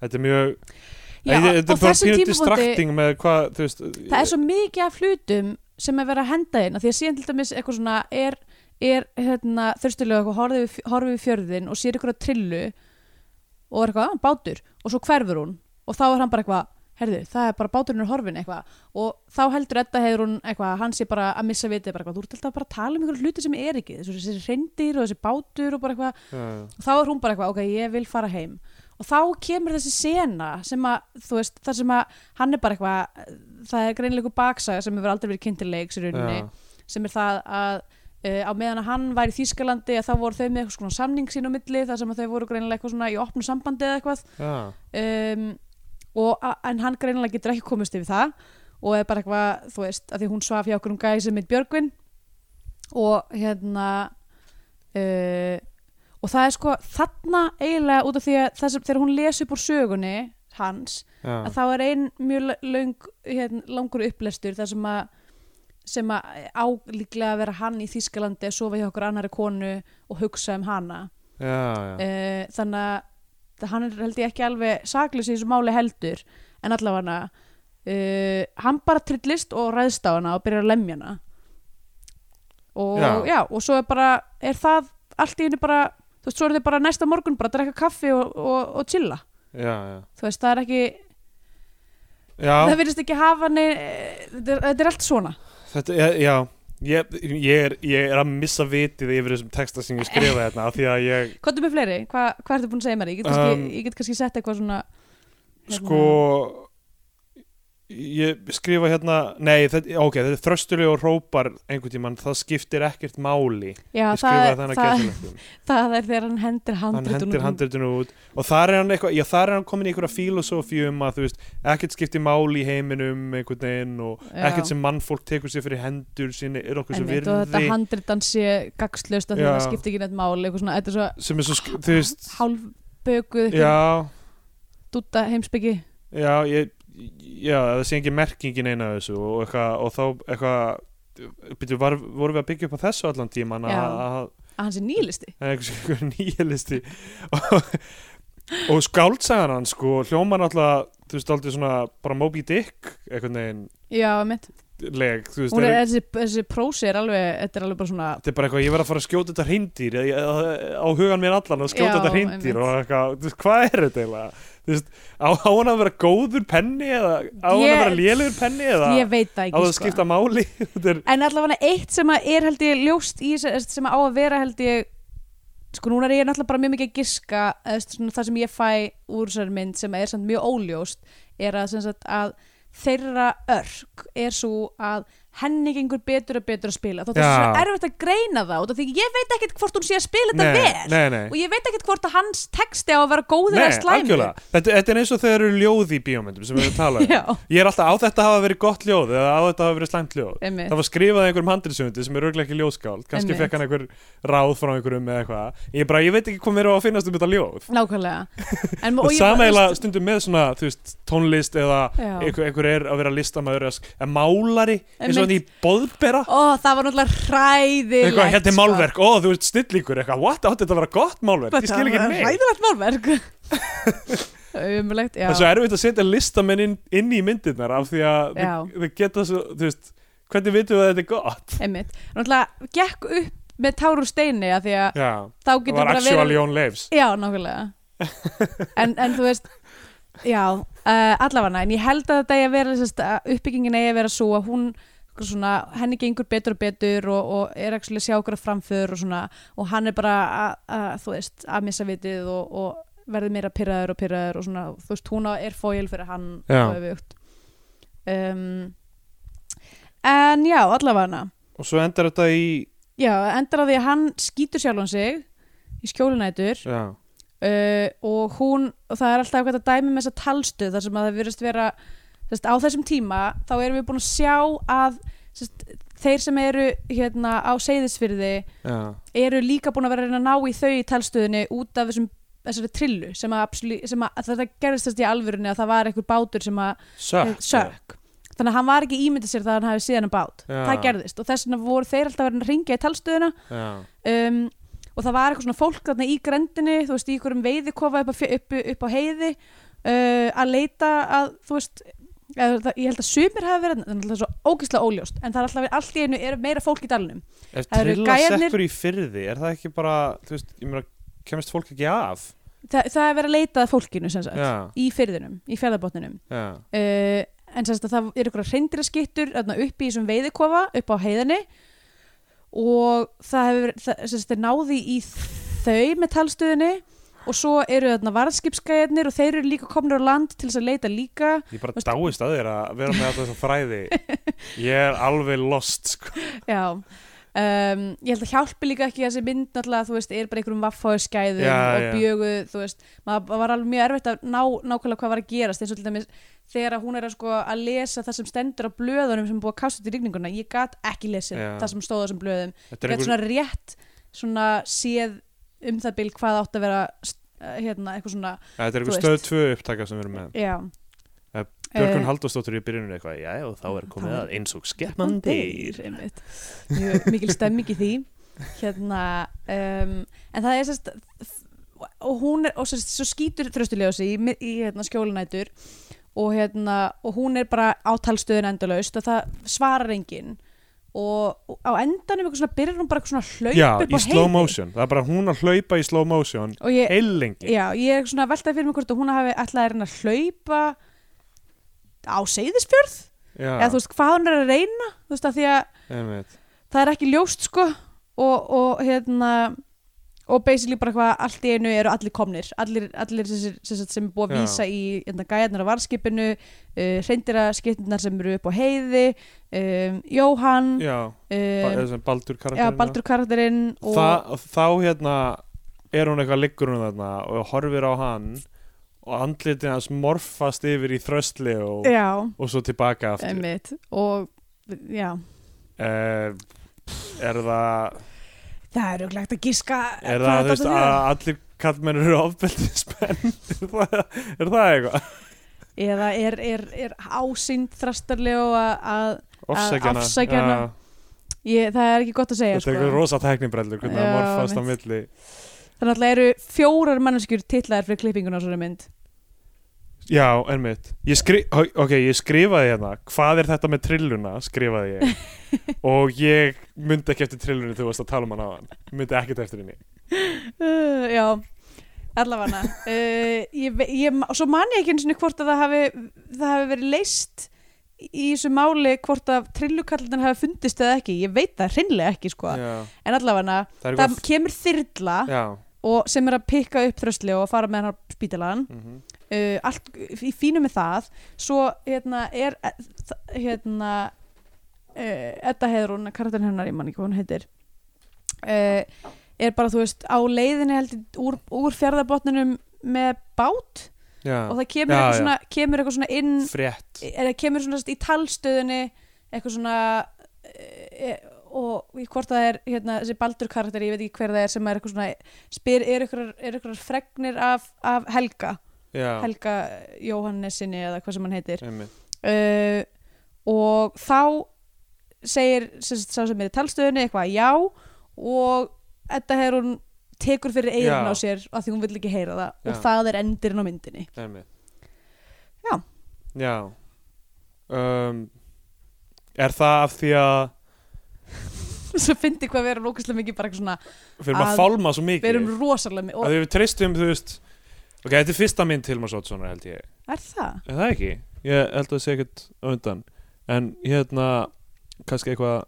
C: þetta er mjög
B: Já, á
C: Æ, þetta er bara
B: þessum
C: pínu
B: tímapunkti-
C: distrakting með hvað þú veist
B: það er svo mikið af hlutum sem er verið að henda inn af því að síðan til dæmis eitthvað svona er, er hérna, þurftilega eitthvað horfið við, horfið við fjörðin og sér eitthvað trillu og er eitthvað "Ah, bátur og svo hverfur hún og þá er hann bara eitthvað herðu, það er bara báturinn er horfin eitthvað og þá heldur þetta hefur hún eitthvað að hann sé bara að missa vitið bara eitthvað, þú ert alltaf bara að tala um einhverju hluti sem er ekki þessi, þessi reyndir og þessi bátur og bara eitthvað
C: já,
B: og þá er hún bara eitthvað, ok, ég vil fara heim og þá kemur þessi sena sem að, þú veist, þar sem að hann er bara eitthvað, það er greinleiku baksaga sem hefur aldrei verið kynntilegs í rauninni
C: já,
B: sem er það að uh, á meðan að hann var í Þýskalandi að þá voru þau með eitthvað svona samning sín á milli þar sem að þau voru greinilega eitthvað svona í opnu sambandi eða eitthvað
C: já,
B: um, og, a- en hann greinilega getur ekki komist yfir það og er bara eitthvað, þú veist, að því hún svaf hjá okkur um gæði sem mitt Björgvin og hérna uh, og það er sko þarna eiginlega út af því að það sem, þegar hún les upp úr sögunni hans
C: já,
B: að þá er ein mjög löng, hérna, langur upplestur þar sem að sem að á líklega að vera hann í Þýskalandi að sofa hjá okkur annari konu og hugsa um hana
C: já, já.
B: uh, þannig að hann er held ég ekki alveg saklaus í þessu máli heldur en allavega uh, hann bara trillist og ræðst á hana og byrjar að lemja hana og já,
C: Já.
B: og svo er bara er það allt í henni bara þú veist, svo er þið bara næsta morgun bara að drekka kaffi og, og, og chilla
C: já, já.
B: þú veist, það er ekki
C: já,
B: það verðist ekki hafa nei, þetta, er- þetta er allt svona
C: þetta, já, já. Ég, ég, er, ég er að missa vitið yfir þessum texta sem ég skrifa hérna af því að ég
B: hvað er með fleiri? Hva, hvað ertu búin að segja mér? ég get
C: Um,
B: kannski, ég get kannski sett eitthvað svona hérna.
C: sko ég skrifa hérna nei, þetta, ok, þetta er þröstuleg og hrópar einhvern tímann, það skiptir ekkert máli
B: já, það,
C: ég skrifaði þannig að
B: það,
C: geta
B: það er þegar hann hendir um-
C: hann
B: handritunum
C: hendir handritinu út og þar er hann, eitthvað, já, þar er hann komin í einhverja filosófíu um að þú veist, ekkert skiptir máli í heiminum einhvern veginn og ekkert sem mannfólk tekur sér fyrir hendur sinni er okkur sem
B: Einmitt, og þetta
C: virði
B: handritan sé gagslust að
C: Já.
B: það skipti ekki neitt máli eitthvað svona, þetta er svo
C: sem er svo, sk- þú veist
B: hálfbökuð eitthvað
C: já,
B: dúta heimsbyggi
C: já, ég já, það sé engin merkingin eina þessu og, eitthvað, og þá eitthvað byrju, var, vorum við að byggja upp á þessu allan tíman
B: Já.
C: að að-
B: að hann sé nýlisti
C: Það er einhvers einhver nýjalisti og, og skáldsagan hann sko hljómar náttúrulega þú veist aldrei svona bara Moby Dick einhvern veginn
B: já, mitt
C: leg þú veist
B: Hún er,
C: er,
B: þessi, þessi prósi er alveg, þetta er alveg bara svona
C: þetta er bara eitthvað ég verð að fara að skjóta þetta hreindir á hugan mér allan að skjóta
B: Já,
C: þetta hreindir
B: einmitt.
C: og eitthvað þú veist hvað er þetta eiginlega þú veist á, á hann að vera góður penni eða á hann að
B: Ég-
C: vera lélegur penni eða
B: ég veit það
C: á það
B: ekki sko.
C: að skipta máli (laughs) þetta er
B: en allavega eitt sem að er held ég ljóst í þessu- sem að á að vera held ég sko núna er ég náttúrulega bara mjög mikið að giska eða þú veist, svona, það sem ég fæ úr þessar mynd sem er samt mjög óljóst er að, sem sagt, að þeirra örk er svo að henni gengur betur og betur að spila þótt að það er
C: Já.
B: svo erfitt að greina það út af því ég veit ekkert hvort hún sé að spila þetta
C: nei,
B: vel
C: nei, nei.
B: og ég veit ekkert hvort að hans texti á að vera góður
C: Nei,
B: að slæmur
C: algjörlega. þetta, þetta er eins og þegar eru ljóð í bíómyndum sem við erum að tala um
B: (laughs) Já,
C: Ég er alltaf á þetta hafa verið gott ljóð eða á þetta hafa verið slæmt ljóð.
B: einmitt.
C: Það var skrifað af einhverjum handriðsöfundi sem er örglega ekki ljóðskáld, kannski
B: Einmitt.
C: fekk hann einhver ráð frá einhverjum eða eitthvað. Ég bara, ég veit ekki hvað mér á að finnast um þetta ljóð.
B: Nákvæmlega
C: (laughs)
B: en, og
C: Og
B: ég- þú
C: sama eiginlega
B: veist-
C: stundum með svona, þú veist, tónlist eða
B: Já.
C: einhver, einhver er að vera listamæður eða sk- eða málari, eins
B: Einmitt.
C: og hann í boðbera.
B: Ó, það var náttúrulega hræðilegt
C: Eitthvað, hérna er
B: sko.
C: málverk, ó, þú ert snillíkur, eitthvað, what, átti þetta að vera gott málverk, ég skil ekki
B: Það var
C: mig.
B: Hræðilegt málverk
C: (laughs)
B: Umulegt, já
C: Það er svo erfitt að setja listamenn inn, inn í myndirnar af því að
B: Já.
C: þau- þau geta svo, þú veist, hvernig vitum við að þetta er gott?
B: Einmitt, náttúrulega gekk upp með tár úr steini að því að
C: Já.
B: þá
C: Það
B: getur
C: var
B: bara
C: actual
B: verið
C: Jón Leifs
B: Já, nákvæmlega en, en þú veist Já, uh, allavega En ég held að þetta eigi að vera sérst, að uppbyggingin eigi að vera svo að hún svona, henni gengur betur og betur og, og er ekki að sjá okkur að framför og, svona, og hann er bara að, að, þú veist, að missa vitið og, og verður meira pyrraður og pyrraður og svona, þú veist, hún á- er fóil fyrir hann
C: Já.
B: og öfugt um, En já, allavega
C: og svo endar þetta í
B: Já, endar á því að hann skýtur sjálfan sig í skjólinætur
C: já,
B: uh, og hún, og það er alltaf eitthvað að dæmi með þessa talstöð þar sem að það virðist vera sest, á þessum tíma þá erum við búin að sjá að sest, þeir sem eru hérna á seyðisfyrði
C: já,
B: eru líka búin að vera að reyna að ná í þau í talstöðinni út af þessum þessari trillu sem að, absolu- sem að þetta gerðist þess í alvörunni að það var einhver bátur sem að
C: sök,
B: sök þannig að hann var ekki ímyndið sér það að hann hafi síðan að bát
C: Já.
B: það gerðist og þess vegna voru þeir alltaf verið að ringja í talstöðina
C: Já.
B: um, og það var eitthvað svona fólk þarna í grendinni, þú veist, í einhverjum veiðikofa upp, á fj- upp, upp á heiði uh, að leita að, þú veist eða, það, ég held að sumir hafi verið það er alltaf svo ógeðslega óljóst, en það er alltaf allt í einu er meira fólk í dalnum
C: ef
B: Það eru
C: trilla
B: gæjarnir-
C: sekkur í fyrði er það ekki bara, þú veist, ég meina kemist fólk ekki af
B: Þa, það er verið að leita að fólkinu sem sagt,
C: já,
B: í fyrðinum, í fjörðabotninum
C: já,
B: uh, en sérst að það eru eitthvað hreindiraskittur þarna upp í þessum veiðikofa upp á heiðinni og það hefur, það, sérst að náði í þau með talstöðinni og svo eru þarna varðskipskæðinir og þeir eru líka komnir á land til þess að leita líka
C: ég bara
B: Veist-
C: dáist að þér að vera með alltaf þessa
B: (laughs)
C: fræði ég er alveg lost sko.
B: já Um, ég held að hjálpi líka ekki þessi mynd náttúrulega, þú veist, er bara einhverjum vaffáðu skæðum
C: Já,
B: og
C: já.
B: bjögu, þú veist maður var alveg mjög erfitt að ná nákvæmlega hvað var að gerast eins og til dæmis þegar að hún er að, sko, að lesa það sem stendur á blöðunum sem er búið að kasta til rigninguna, ég gat ekki lesið
C: Já.
B: það sem stóð á þessum blöðum,
C: þetta
B: ég
C: er
B: gat
C: einhver,
B: svona rétt svona séð um það bil hvað átt að vera st- hérna, eitthvað svona,
C: þetta er
B: þú
C: einhver
B: veist.
C: stöð tvö upptaka sem við erum með
B: já
C: Eh, Björgun
B: Eh,
C: Halldórsdóttir í byrjunum eitthvað, já, og þá er komið
B: Þá er-
C: að eins og skeppmann deyr
B: einmitt. Mjög mikil stemming í því hérna um, en það er sérst og hún er, og sérst, svo skýtur þröstuljósi í, mi- í hérna, skjólinætur og hérna, og hún er bara á talstöðun endalaust og það svarar enginn og og á endanum eitthvað svona byrjar hún bara eitthvað svona hlaup
C: já,
B: upp á
C: í slow
B: heiði.
C: motion, það er bara hún að hlaupa í slow motion
B: og ég,
C: heilengi
B: Já, ég er svona veltaði fyrir mig hvort að hún hafi alltaf að reyna að hlaupa á seyðisfjörð
C: já,
B: eða þú veist hvað hann er að reyna þú veist að því að
C: einmitt
B: það er ekki ljóst sko og, og hérna og basically bara hvað allt í einu eru allir komnir allir, allir sem, sem, sem er búið að
C: Já.
B: vísa í hérna, gæjarnar á varskipinu uh, hreindira skiptunar sem eru upp á heiði um, Jóhann um,
C: já, ba- eða sem Baldur
B: ja,
C: karakterina
B: Baldur karakterinn og
C: Þa, þá hérna er hún eitthvað liggur hún þarna og horfir á hann og andlitin hans morfast yfir í þröstli og,
B: já,
C: og svo tilbaka aftur
B: einmitt og já,
C: uh, er það
B: það er auðvitað að gíska
C: er
B: Eh, hvað
C: það, þú
B: þetta átti að
C: veist, að
B: þýða.
C: allir kallmenn eru ofbeldismenn (laughs) er, það- er það eitthvað?
B: eða er, er, er ásýnd þrastarlega að
C: Ofsækjana
B: afsækja hana,
C: Já,
B: ég, það er ekki gott að segja
C: Þetta er
B: sko.
C: eitthvað rosa tæknibrellur hvernig það
B: Já,
C: morfast á
B: mitt.
C: milli
B: Þannig að það eru fjórar manneskjur titlaðar fyrir klippinguna á svona mynd.
C: Já, einmitt ég skri, Ok, ég skrifaði hérna Hvað er þetta með trilluna, skrifaði
B: (laughs)
C: ég Og ég myndi ekki eftir trillunni Þú varst að tala um hann á hann Myndi ekkert eftir henni
B: Uh, já, allavega. Uh, ég, ve- ég, ma- svo man ég ekki eins og hvort að það hafi, það hafi verið leist í þessu máli hvort að trillukallarnir hafi fundist eða ekki. Ég veit það hreinlega ekki, sko.
C: Já,
B: En allavega,
C: það er
B: það Ah.
C: eitthvað
B: kemur þyrla
C: Já,
B: og sem er að pikka upp þrösli og fara með hann á spítalaðan.
C: mm -hmm.
B: uh, allt í fínu með það svo hérna er eh, þ- hérna uh, Edda Heiðrún, karakterin hennar ég man ekki hvað hún heitir uh, er bara þú veist á leiðinni heldur úr, úr fjörðabotnunum með bát
C: já.
B: og það kemur,
C: Já,
B: eitthvað,
C: já.
B: Svona, kemur eitthvað svona inn
C: Frétt
B: eða kemur svona í talstöðinni eitthvað svona e, og í hvort það er hérna, þessi Baldur karakter, ég veit ekki hver það er sem er eitthvað svona spyr, er eitthvað fregnir af, af Helga
C: Já,
B: Helga Jóhannesinni eða hvað sem hann heitir
C: einmitt
B: uh, og þá segir sem sagt, sá sem er í talstöðunni eitthvað já og þetta hefur hún tekur fyrir eyrun
C: Já.
B: á sér af því hún vill ekki heyra það og
C: Já.
B: það er endirinn á myndinni (laughs)
C: einmitt
B: Já.
C: Já um, Er það af því að
B: svo fyndi hvað við erum lókislega mikið bara eitthvað svona
C: Við erum að,
B: Að-
C: fálma svo mikið
B: við erum rosalega mikið
C: Að
B: og
C: við treystum, þú veist Ok, þetta er fyrsta mynd til maður svona held ég
B: er það?
C: Er það ekki? Ég held að það sé ekkert á undan En hérna kannski eitthvað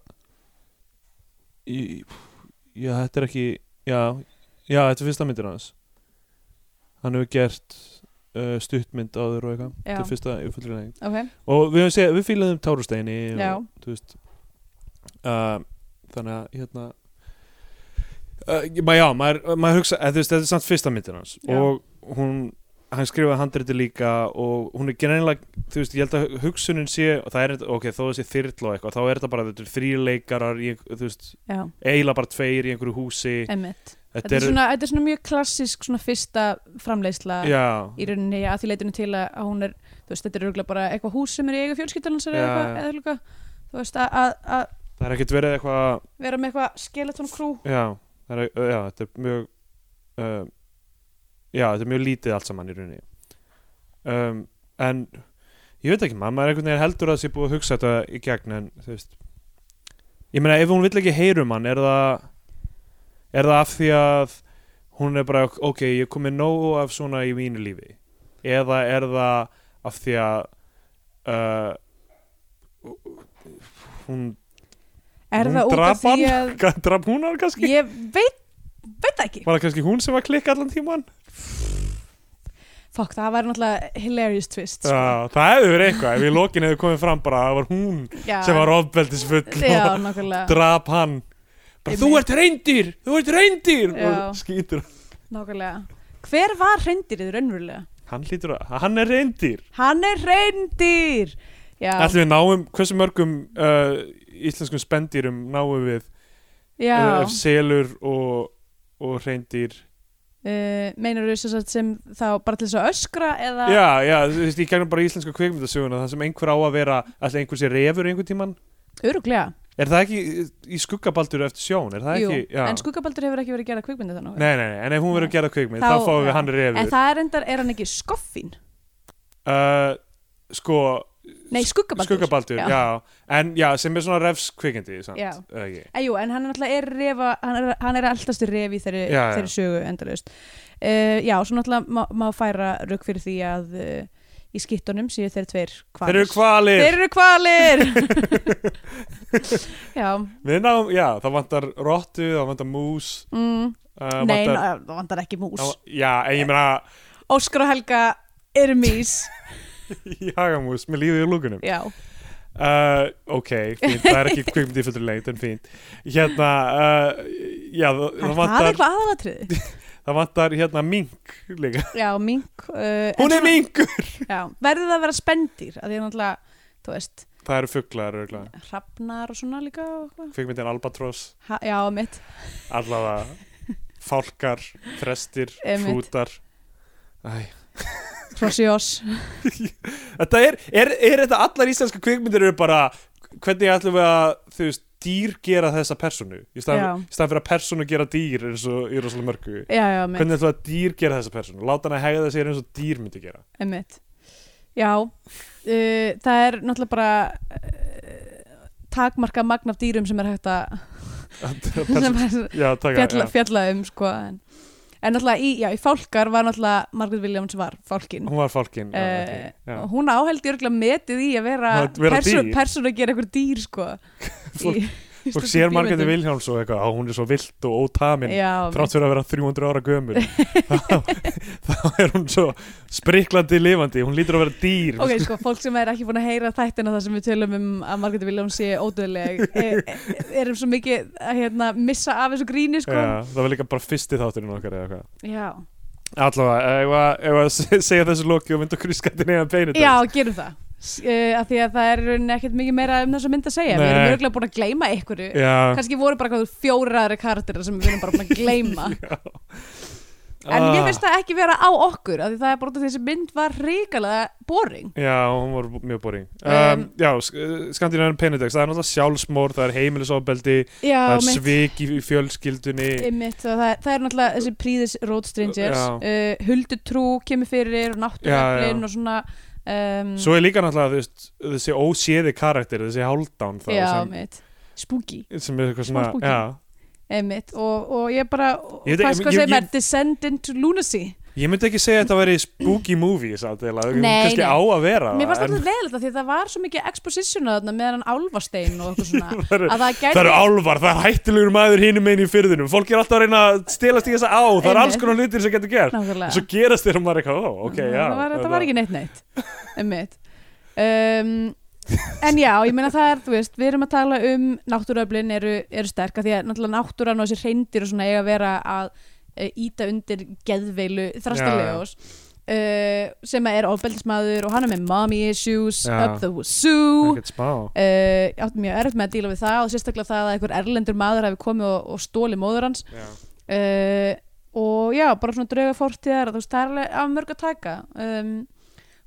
C: Í- Já, þetta er ekki Já, já þetta er fyrsta myndin hans Hann hefur gert uh, stuttmynd áður og eitthvað
B: Já.
C: Þetta er fyrsta uppfylgrinning
B: ok,
C: Og við höfum séð, við fílaðum Tárusteini
B: Já.
C: og, þú veist uh, Þannig að hérna uh, ma, Já, maður, maður hugsa eða, þú veist, Þetta er samt fyrsta myndin hans
B: Já.
C: Og hún, hann skrifaði handriti líka Og hún er gennilega, þú veist Ég held að hugsunin sé, og það er þetta- ok, þó þessi þyrla og eitthvað, þá er þetta bara þetta er þrý leikarar í, einhver- Þú veist,
B: já,
C: eiginlega bara tveir í einhverju húsi
B: emmitt þetta er
C: eru-
B: svona, þetta er svona mjög klassisk svona fyrsta framleiðsla
C: Já,
B: í rauninni að því leitinu til að að hún er þú veist, þetta er örgulega bara eitthvað hús sem er í eiga fjölskyldanans eða
C: Já,
B: eitthvað,
C: já.
B: eða eitthvað þú veist, að, að, að
C: það er ekkert verið eitthvað
B: vera með eitthvað skeleton crew
C: Já, það er, já þetta er mjög um, Já, þetta er mjög lítið allt saman í rauninni um, En ég veit ekki maður, maður er einhvern veginn heldur að það sé búið að hugsa þetta í gegn en þú veist Ég meina ef hún vill ekki heyra um hann er það, er það af því að hún er bara ok, ég er komið nóg af svona í mínu lífi eða er það af því að uh, hún (laughs)
B: er
C: Hún
B: það út
C: drap
B: af því
C: hann?
B: að
C: draf hún hann kannski
B: ég veit, veit það ekki
C: Var það kannski hún sem var klikk allan tíman?
B: fokk, það væri náttúrulega hilarious twist sko.
C: Já, það hefði verið eitthvað ef í lokin hefði komið fram bara að það var hún
B: já,
C: sem var ofbeldisfull
B: já,
C: og
B: nákvæmlega,
C: drap hann bara,
B: Einmitt.
C: Þú ert reyndir, þú ert reyndir
B: Já.
C: og skýtur
B: nákvæmlega hver var reyndirðið raunverulega?
C: Hann hlýtur að, hann er reyndir
B: hann er reyndir já,
C: Ætlum við náum, hversu mörgum uh, íslenskum spendýrum náum við
B: já
C: uh, selur og, og reyndir
B: uh, meinar þú sem, sagt sem þá bara til þess að öskra eða
C: Já, já, þú veist, ég gegnum bara íslenska kvikmyndasöguna það sem einhver á að vera, alltaf einhver sé refur einhvern tíman
B: öruglega
C: Er það ekki í skuggabaldur eftir sjón, er það
B: Jú,
C: ekki? Já.
B: en sko, skuggabaldur hefur ekki verið gerða kvikmyndi þannig
C: Nei, nei, nei, en ef hún verður að gera kvikmynd þá,
B: Þá-
C: fáum við
B: já. En
C: hann refur
B: það er endar, er hann ekki skoffín?
C: uh, Sko,
B: Nei, skuggabaldur
C: skuggabaldur, já. En já, sem er svona refs kvikindi samt,
B: Já.
C: eða ekki?
B: En Eh, jú, en hann er náttúrulega er refa, hann er, hann er alltastu ref í þeirri, Eh,
C: Já, já.
B: þeirri sögu endalaust. Uh, já, svo náttúrulega má, má færa rauk fyrir því að uh, í skittunum séu þeir tveir
C: Þeir
B: kvalir
C: eru kvalir
B: Þeir eru kvalir
C: (laughs)
B: Já
C: Við náum, já, það vantar rottu, það vantar mús
B: mm,
C: uh,
B: Nei, ná, það vantar ekki mús
C: það, Já, en ég meina (laughs)
B: Óskar og Helga eru mís
C: jagamús með lífið í lúkunum
B: Já,
C: uh, Ok, fínt, það
B: (laughs)
C: er ekki kvikmynd í fullur lengt en fínt Hérna, uh, já, það,
B: það,
C: það
B: það er
C: vantar
B: eitthvað
C: (laughs)
B: aðalatriði
C: Það vantar hérna mink líka
B: Já, mink uh,
C: Hún er minkur!
B: Já, verður það að vera spendir að því að náttúrulega, þú veist,
C: (laughs) Það eru fuglar, örgulega
B: hrafnar og svona líka og eitthvað.
C: Kvikmyndin Albatross,
B: ha, Já, mitt
C: allavega Fálkar, frestir,
B: Einmitt.
C: hrútar Æ, (laughs)
B: Rosjós
C: Þetta er, er, er þetta allar íslenska kvikmyndir eru bara hvernig ætlum við að þú veist, dýr gera þessa personu í
B: Já.
C: staðan fyrir að personu gera dýr eins og í rosalega mörgu
B: Já, já, mitt,
C: hvernig ætlum við að dýr gera þessa personu láta hann að hegða sér eins og dýr myndi gera
B: mitt. Já, uh, það er náttúrulega bara uh, takmarka magn af dýrum sem er hægt að (laughs) sem
C: Persón-
B: er
C: já, taka,
B: fjalla,
C: já.
B: fjalla um sko, en, en náttúrulega í, já, í fálkar var náttúrulega Margaret Williams var fálkin
C: hún var fálkin já,
B: Eh,
C: ok, já.
B: og hún áhældi örgulega metið í að vera,
C: Að vera
B: perso-
C: dýr.
B: persóna að gera eitthvað dýr sko
C: (laughs) Fólk-
B: Í- í
C: og
B: stundum
C: sér Margréti
B: bíómyndum.
C: Vilhjáms og eitthvað, á, hún er svo vilt og ótamin
B: Já,
C: þrátt fyrir að vera 300 ára gömur þá, þá er hún svo spriklandi lifandi, hún lítur að vera dýr
B: Ok, sko, fólk sem er ekki búin að heyra þættina þar sem við tölum um að Margreti Viljáms sé ódöðleg
C: (laughs)
B: e, e, erum svo mikið að hérna, missa af þessu gríni, sko Já,
C: Já, það var líka bara fyrsti þátturinn okkar eða eitthvað Allavega, ef að- ef að se- segja þessu loki og mynda kryskattin eða beinu
B: Já gerum það e, af því að það er í rauninni ekkert mikið meira um þess að mynda að segja, við
C: Nei.
B: erum örgulega búin að gleyma einhverju,
C: Já,
B: kannski voru bara hvað fjórir aðri karakterar sem við erum bara búin að
C: (laughs)
B: gleyma en
C: Ah,
B: ég finnst það ekki vera á okkur af því það er bara út af því að þessi mynd var ríkalega boring
C: Já, hún var mjög boring um,
B: Um,
C: Já, Skandinavian Penedex, það er náttúrulega sjálfsmór það er heimilisofbeldi,
B: Já,
C: það er
B: mitt.
C: svik í í fjölskyldunni
B: Einmitt, og það, það er náttúrulega þessi príðis Road Strangers,
C: Já.
B: uh, huldutrú kemur fyrir og
C: Já, já.
B: náttúröflin og svona um,
C: Svo er líka náttúrulega þú veist, þessi óséði karakter, þessi hálfdán þá
B: já,
C: sem,
B: einmitt, spooky
C: sem er eitthvað
B: Smá
C: svona
B: spooky.
C: já.
B: einmitt, og, og ég bara
C: Ég veit
B: hvað
C: ekki,
B: sko
C: ég-
B: að segja
C: ég-
B: mér, descend into lunacy
C: Ég myndi ekki segja að þetta væri spooky movie samt eiginlega, hún
B: Nei,
C: kannski
B: nei.
C: á að vera
B: mér fannst
C: en-
B: alltaf leðilegt að því að það var svo mikið exposition að þarna með hann álfastein og eitthvað
C: (laughs)
B: svona
C: (laughs) Það eru-
B: að það
C: Það
B: gerði
C: eru álvar, það er hættilegur maður hinum einn í fyrðinum Fólk er alltaf að reyna að stelast í þessa á Það er
B: Einmitt.
C: alls konar hlutir sem getur gert
B: nákvæmlega
C: Svo gerast þér og maður er eitthvað, ó, ok, já
B: það var, það var ekki neitt neitt einmitt um, en já, ég meina það er, þú veist við erum að tala um náttúruöflin eru, eru sterka því að náttúrulega náttúran og þessi reyndir og svona eiga að vera að e, íta undir geðveilu þrastalegos Uh, sem er ofbeldismæður og hann er með mommy issues,
C: Já.
B: up the zoo
C: Ekkert smá
B: uh, átt mjög erfitt með að díla við það og sérstaklega það að einhver erlendur maður hefði komið og, og stóli móður hans
C: Já.
B: uh, og já, bara svona drauga fórtíðar þú veist, það er alveg af mörg að taka um,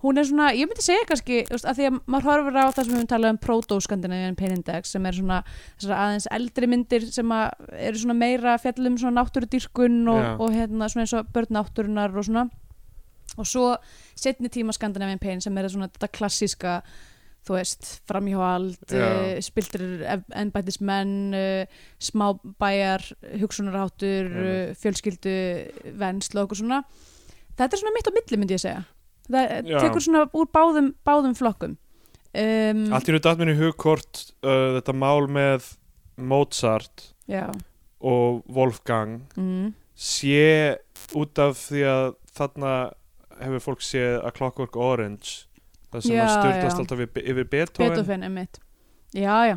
B: hún er svona, ég myndi segja kannski þú veist, að því að maður horfir á það sem við höfum talað um proto-skandinavian penindex sem er svona þessar aðeins eldri myndir sem að eru svona meira fjallum svona náttúrudýrkun og,
C: Já.
B: og hérna svona eins og börn náttúrunar og svona og svo setni tíma skandinavian pein sem er svona þetta klassíska þú veist, framhjóhald,
C: Já.
B: uh, spiltir ennbætismenn, uh, smábæjar, hugsunarháttur,
C: Einmitt.
B: uh, fjölskyldu, vensl og okkur svona. Þetta er svona mitt á milli, myndi ég segja. Það eh,
C: Já.
B: tekur svona úr báðum, báðum flokkum. Um,
C: Allt í nú datt minni hugkort uh, Þetta mál með Mozart
B: Já.
C: og Wolfgang
B: Mm,
C: Sé út af því að þarna hefur fólk séð A Clockwork Orange Það sem
B: Já,
C: að
B: já.
C: styrtast alltaf yfir, yfir Beethoven,
B: Beethoven er mitt. Já, já.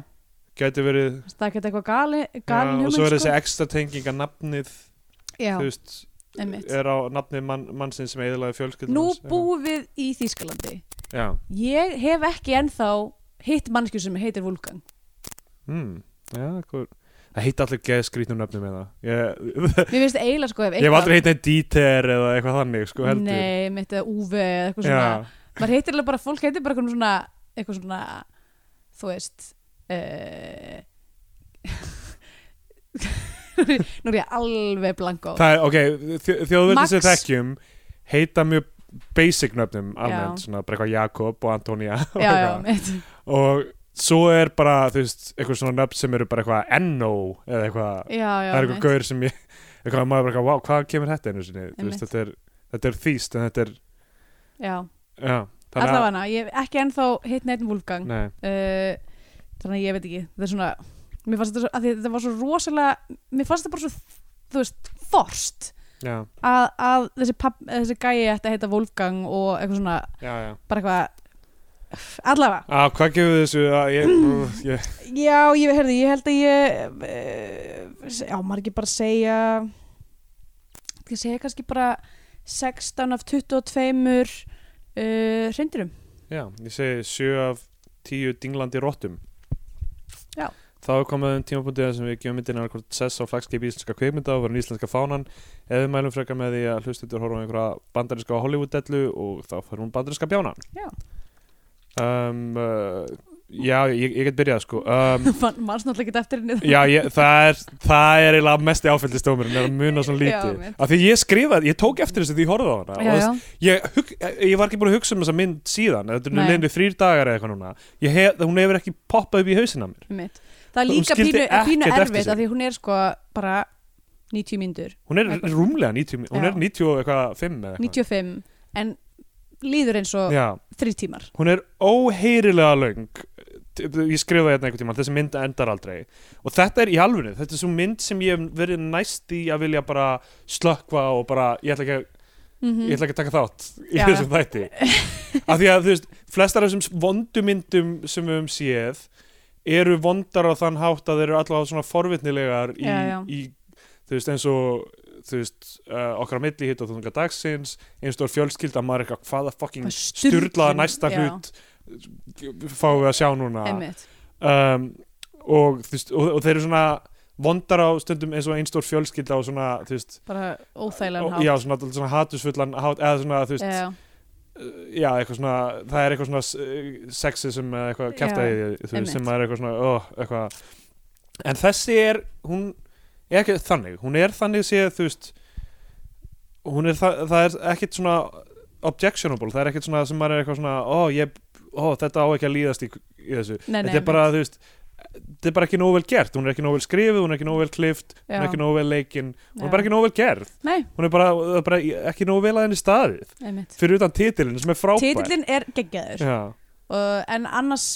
C: Gæti verið
B: Það er ekki eitthvað gali,
C: já,
B: galin
C: Og
B: hugmynd, sko.
C: svo er þessi ekstra tenginga nafnið
B: Já,
C: Þú veist,
B: einmitt.
C: er á nafni mann, mannsinn sem eðlaði fjölskyldunum
B: Nú búum við í Þýskalandi.
C: Já,
B: Ég hef ekki ennþá hitt mannskjur sem heitir Vulkan.
C: mm, já hver... Það heit allir geð skrýtnum nöfnum með það Ég, (laughs)
B: Mér finnst eiginlega sko ef
C: ég hef aldrei heit neitt díter eða eitthvað þannig sko heldur
B: Nei, mitt eða UV eða eitthvað
C: já,
B: svona Maður heitir alveg bara, fólk heitir bara eitthvað svona eitthvað svona, þú veist uh, (laughs) Nú er ég alveg blank á
C: það er, ok, þjóðverðin sem
B: Max.
C: þekkjum heita mjög basic nöfnum
B: Já.
C: almennt, svona bara eitthvað Jakob og Antonia (laughs) og
B: Já, já,
C: eitthvað.
B: mitt
C: og svo er bara, þú veist, eitthvað svona nöfn sem eru bara eitthvað Enno eða eitthvað
B: Já, já,
C: það er eitthvað
B: mitt
C: gaur sem ég eitthvað maður bara, eitthvað, vá, hvað kemur þetta einu sinni Þú veist,
B: Einmitt.
C: þetta er, þetta er þýst en þetta er,
B: Já,
C: já að
B: allavega ég hef ekki ennþá hitt neitt Wolfgang
C: nei,
B: uh, þannig að ég veit ekki þetta er svona mér fannst þetta, svo, af því þetta var svo rosalega mér fannst þetta bara svo þú veist forst
C: já,
B: að, að þessi, papp, þessi gæi ætti að heita Wolfgang og eitthvað svona
C: já, já
B: bara eitthvað allavega
C: Á, hvað gefur þessu að ég, ég
B: já ég, heyrðu, ég held að ég uh, já maður ekki bara segja ég segja kannski bara 16 af 22 uh, (laughs) hreindirum
C: já, ég segi 7 af 10 dinglandi rottum
B: Já.
C: þá er komið um tímapunktið sem við gefum myndin annað hvort sess á flagskip íslenska kveikmynda og verðum íslenska fánan eða við mælum frekar með því að hlustutur horfum einhverja bandarinska Hollywood-dellu og þá fer hún bandarinska bjána
B: Já.
C: um, uh, já, ég, ég get byrjað sko um,
B: maður snáttlega ekki eftir henni
C: Já, ég, það er það er eiginlega mest í áfældistómurinn er að muna svona
B: Já,
C: lítið
B: mitt.
C: af því ég skrifaði, ég tók eftir þessu því ég horfði á hana
B: já,
C: og
B: já.
C: þess- Ég, hug, ég var ekki búin að hugsa um þessa mynd síðan þetta er nú
B: Nei.
C: leiðin við þrýr dagar eða eitthvað núna Ég hef, hún hefur ekki poppað upp í hausinn á mér
B: Einmitt. Það er
C: Hún
B: líka
C: skildi
B: pínu, pínu
C: ekkert eftir
B: erfitt
C: sig.
B: af því hún er sko bara 90 mínútur,
C: hún er
B: Eitthvað.
C: rúmlega 90, hún
B: Já.
C: er 90 og eitthvað 5 eða eitthvað
B: 95 en líður eins og
C: Já,
B: þrý tímar
C: hún er óheyrilega löng ég skrifaði hérna einhvern tíma þessi mynd endar aldrei og þetta er í alvunni, þetta er svo mynd sem ég hef verið næst í að vilja bara slökva og bara, ég ætla ekki að
B: mm
C: ég ætla ekki að taka þátt í
B: Já, já.
C: þessum þætti af því að þú veist, flestar af þessum vondumyndum sem við höfum séð eru vondar á þann hátt að þeir eru allavega svona forvitnilegar í,
B: Já, já.
C: í þú veist, eins og þú veist, uh, okkar á milli hitt og þunga dagsins eins og fjölskylda maður er eitthvað hvaða fucking styrlaða næsta hlut fáum við að sjá núna
B: Einmitt.
C: um, og, þú veist, og, og þeir eru svona vondar á stundum eins og einstór fjölskylda og svona, þú veist,
B: bara óþægilegan
C: og,
B: hátt
C: já, svona, dálítið svona hatusfullan hát, eða svona, þú veist, eh,
B: já,
C: já, eitthvað svona það er eitthvað svona eh, sexism eða eitthvað
B: Já,
C: kæftæði, þú veist,
B: einmitt.
C: sem er eitthvað svona oh, eitthvað en þessi er, hún er ekki þannig, hún er þannig séð, þú veist hún er, það, það er ekkit svona objectionable, það er ekkit svona sem maður er eitthvað svona, ó, ég, ó, þetta á ekki að líðast í, í þessu,
B: nei, nei,
C: þetta er bara, þú veist þetta er bara ekki nógu vel gert, hún er ekki nógu vel skrifið hún er ekki nógu vel klift, hún er
B: Já.
C: ekki nógu vel leikin hún
B: Já.
C: er bara ekki nógu vel gerð
B: nei,
C: hún er bara, það er bara ekki nógu vel að henni staðið
B: einmitt
C: fyrir utan titilin sem er frábær
B: titillin er geggjaður
C: Já,
B: uh, en annars,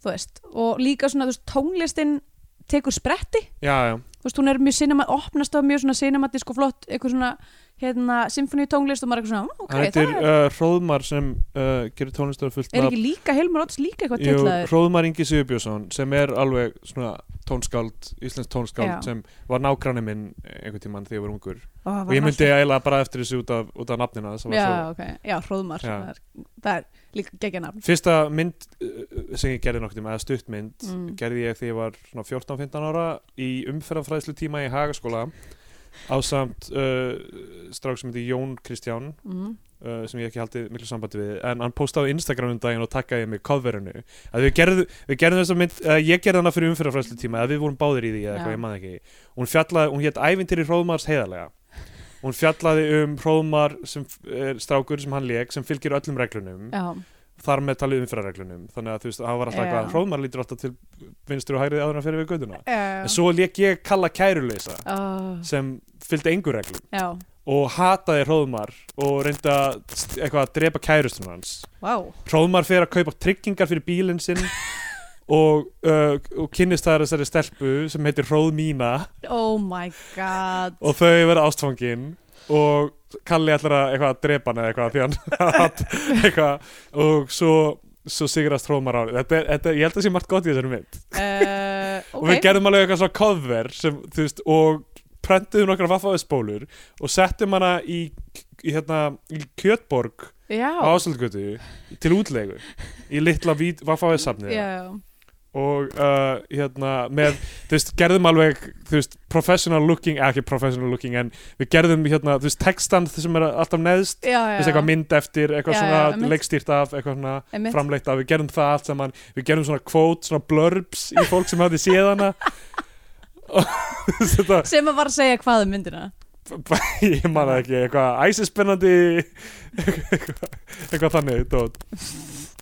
B: þú veist og líka svona, þú veist, tónlistin tekur spretti
C: já, já,
B: þú veist, hún er mjög cinema, opnast á mjög svona cinematisk og flott, eitthvað svona hérna, symfóníutónglist og maður er eitthvað svona "Ó, ok,
C: hann heitir
B: það er,
C: uh, Hróðmar sem uh, gerir tónlistöðu fullt
B: er
C: nafn.
B: ekki líka Helmur Odds líka eitthvað
C: Jú,
B: titlaður
C: Hróðmar Ingi Sigurbjörnsson sem er alveg svona tónskáld, íslensk tónskáld
B: Já.
C: sem var nágranni minn einhvern tímann þegar ég var ungur
B: Ó, var
C: og ég
B: hann
C: myndi eiginlega bara eftir þessu út af, út af nafnina sem var
B: já,
C: svo-
B: ok, já, Hróðmar
C: Já.
B: Það, er, það er líka geggja nafn
C: Fyrsta mynd uh, sem ég gerði nokktum, eða stuttmynd
B: Mm.
C: gerði ég þegar ég var svona 14-15 ára í umferðarfræðslu tíma í Hagaskóla ásamt uh, strák sem heitir Jón Kristján
B: mm.
C: uh, sem ég hef ekki haldið miklu sambandi við en hann postaði á Instagram um daginn og takkaði mig coverinu að við gerðum, við gerðum þess að mynd uh, ég gerði hana fyrir umfyrirfræslu tíma að við vorum báðir í því eða
B: Já.
C: eitthvað ég maður ekki hún fjallaði, hún hétt ævintýri Hróðmars heiðarlega hún fjallaði um Hróðmar sem er strákur sem hann leik sem fylgir öllum reglunum
B: já,
C: þar með talið umfyrirreglunum þannig að þú veist, hann var alltaf
B: Já.
C: eitthvað Hróðmar lítur alltaf til vinstur og hægrið áður en að fyrir við göduna
B: já,
C: en svo leik ég kalla kæruleysa
B: Um, Ó,
C: sem fylgdi engu reglum
B: já.
C: og hataði Hróðmar og reyndi að st- eitthvað að drepa kærustunum hans
B: Vá.
C: Hróðmar fer að kaupa tryggingar fyrir bílinn sinn
B: (laughs)
C: og, uh, og kynnist þar þessari stelpu sem heitir Hróðmína
B: oh my god
C: og þau verða ástfangin og Kalli ætlar að eitthvað að drepa hann (laughs) eða eitthvað því hann hat- eitthvað og svo svo sigrast Hróðmar á þetta, er- þetta, ég held að sé margt gott í þessari mynd
B: uh,
C: og við
B: ok,
C: gerðum alveg eitthvað svona cover sem, þú veist, og prentuðum nokkra vaffaðspólur og settum hana í, í, hérna, í Kjötborg
B: já,
C: á Ásöldgötu til útlegu í litla vaffaðsafni
B: já,
C: og uh, hérna með, þú veist, gerðum alveg þú veist, professional looking, eða ekki professional looking en við gerðum hérna, þú veist, textan sem er alltaf neðst,
B: já,
C: þú
B: já
C: veist, eitthvað mynd eftir eitthvað
B: Já, já,
C: svona
B: einmitt.
C: leikstýrt af eitthvað svona
B: Einmitt.
C: framleitt af, við gerðum það allt saman við gerðum svona quote, svona blurbs í fólk sem hafði séð hana
B: (laughs)
C: (laughs) og þú veist, þetta
B: sem að var að segja hvað um myndina
C: ég man það ekki, eitthvað æsispennandi eitthvað, eitthvað þannig dót.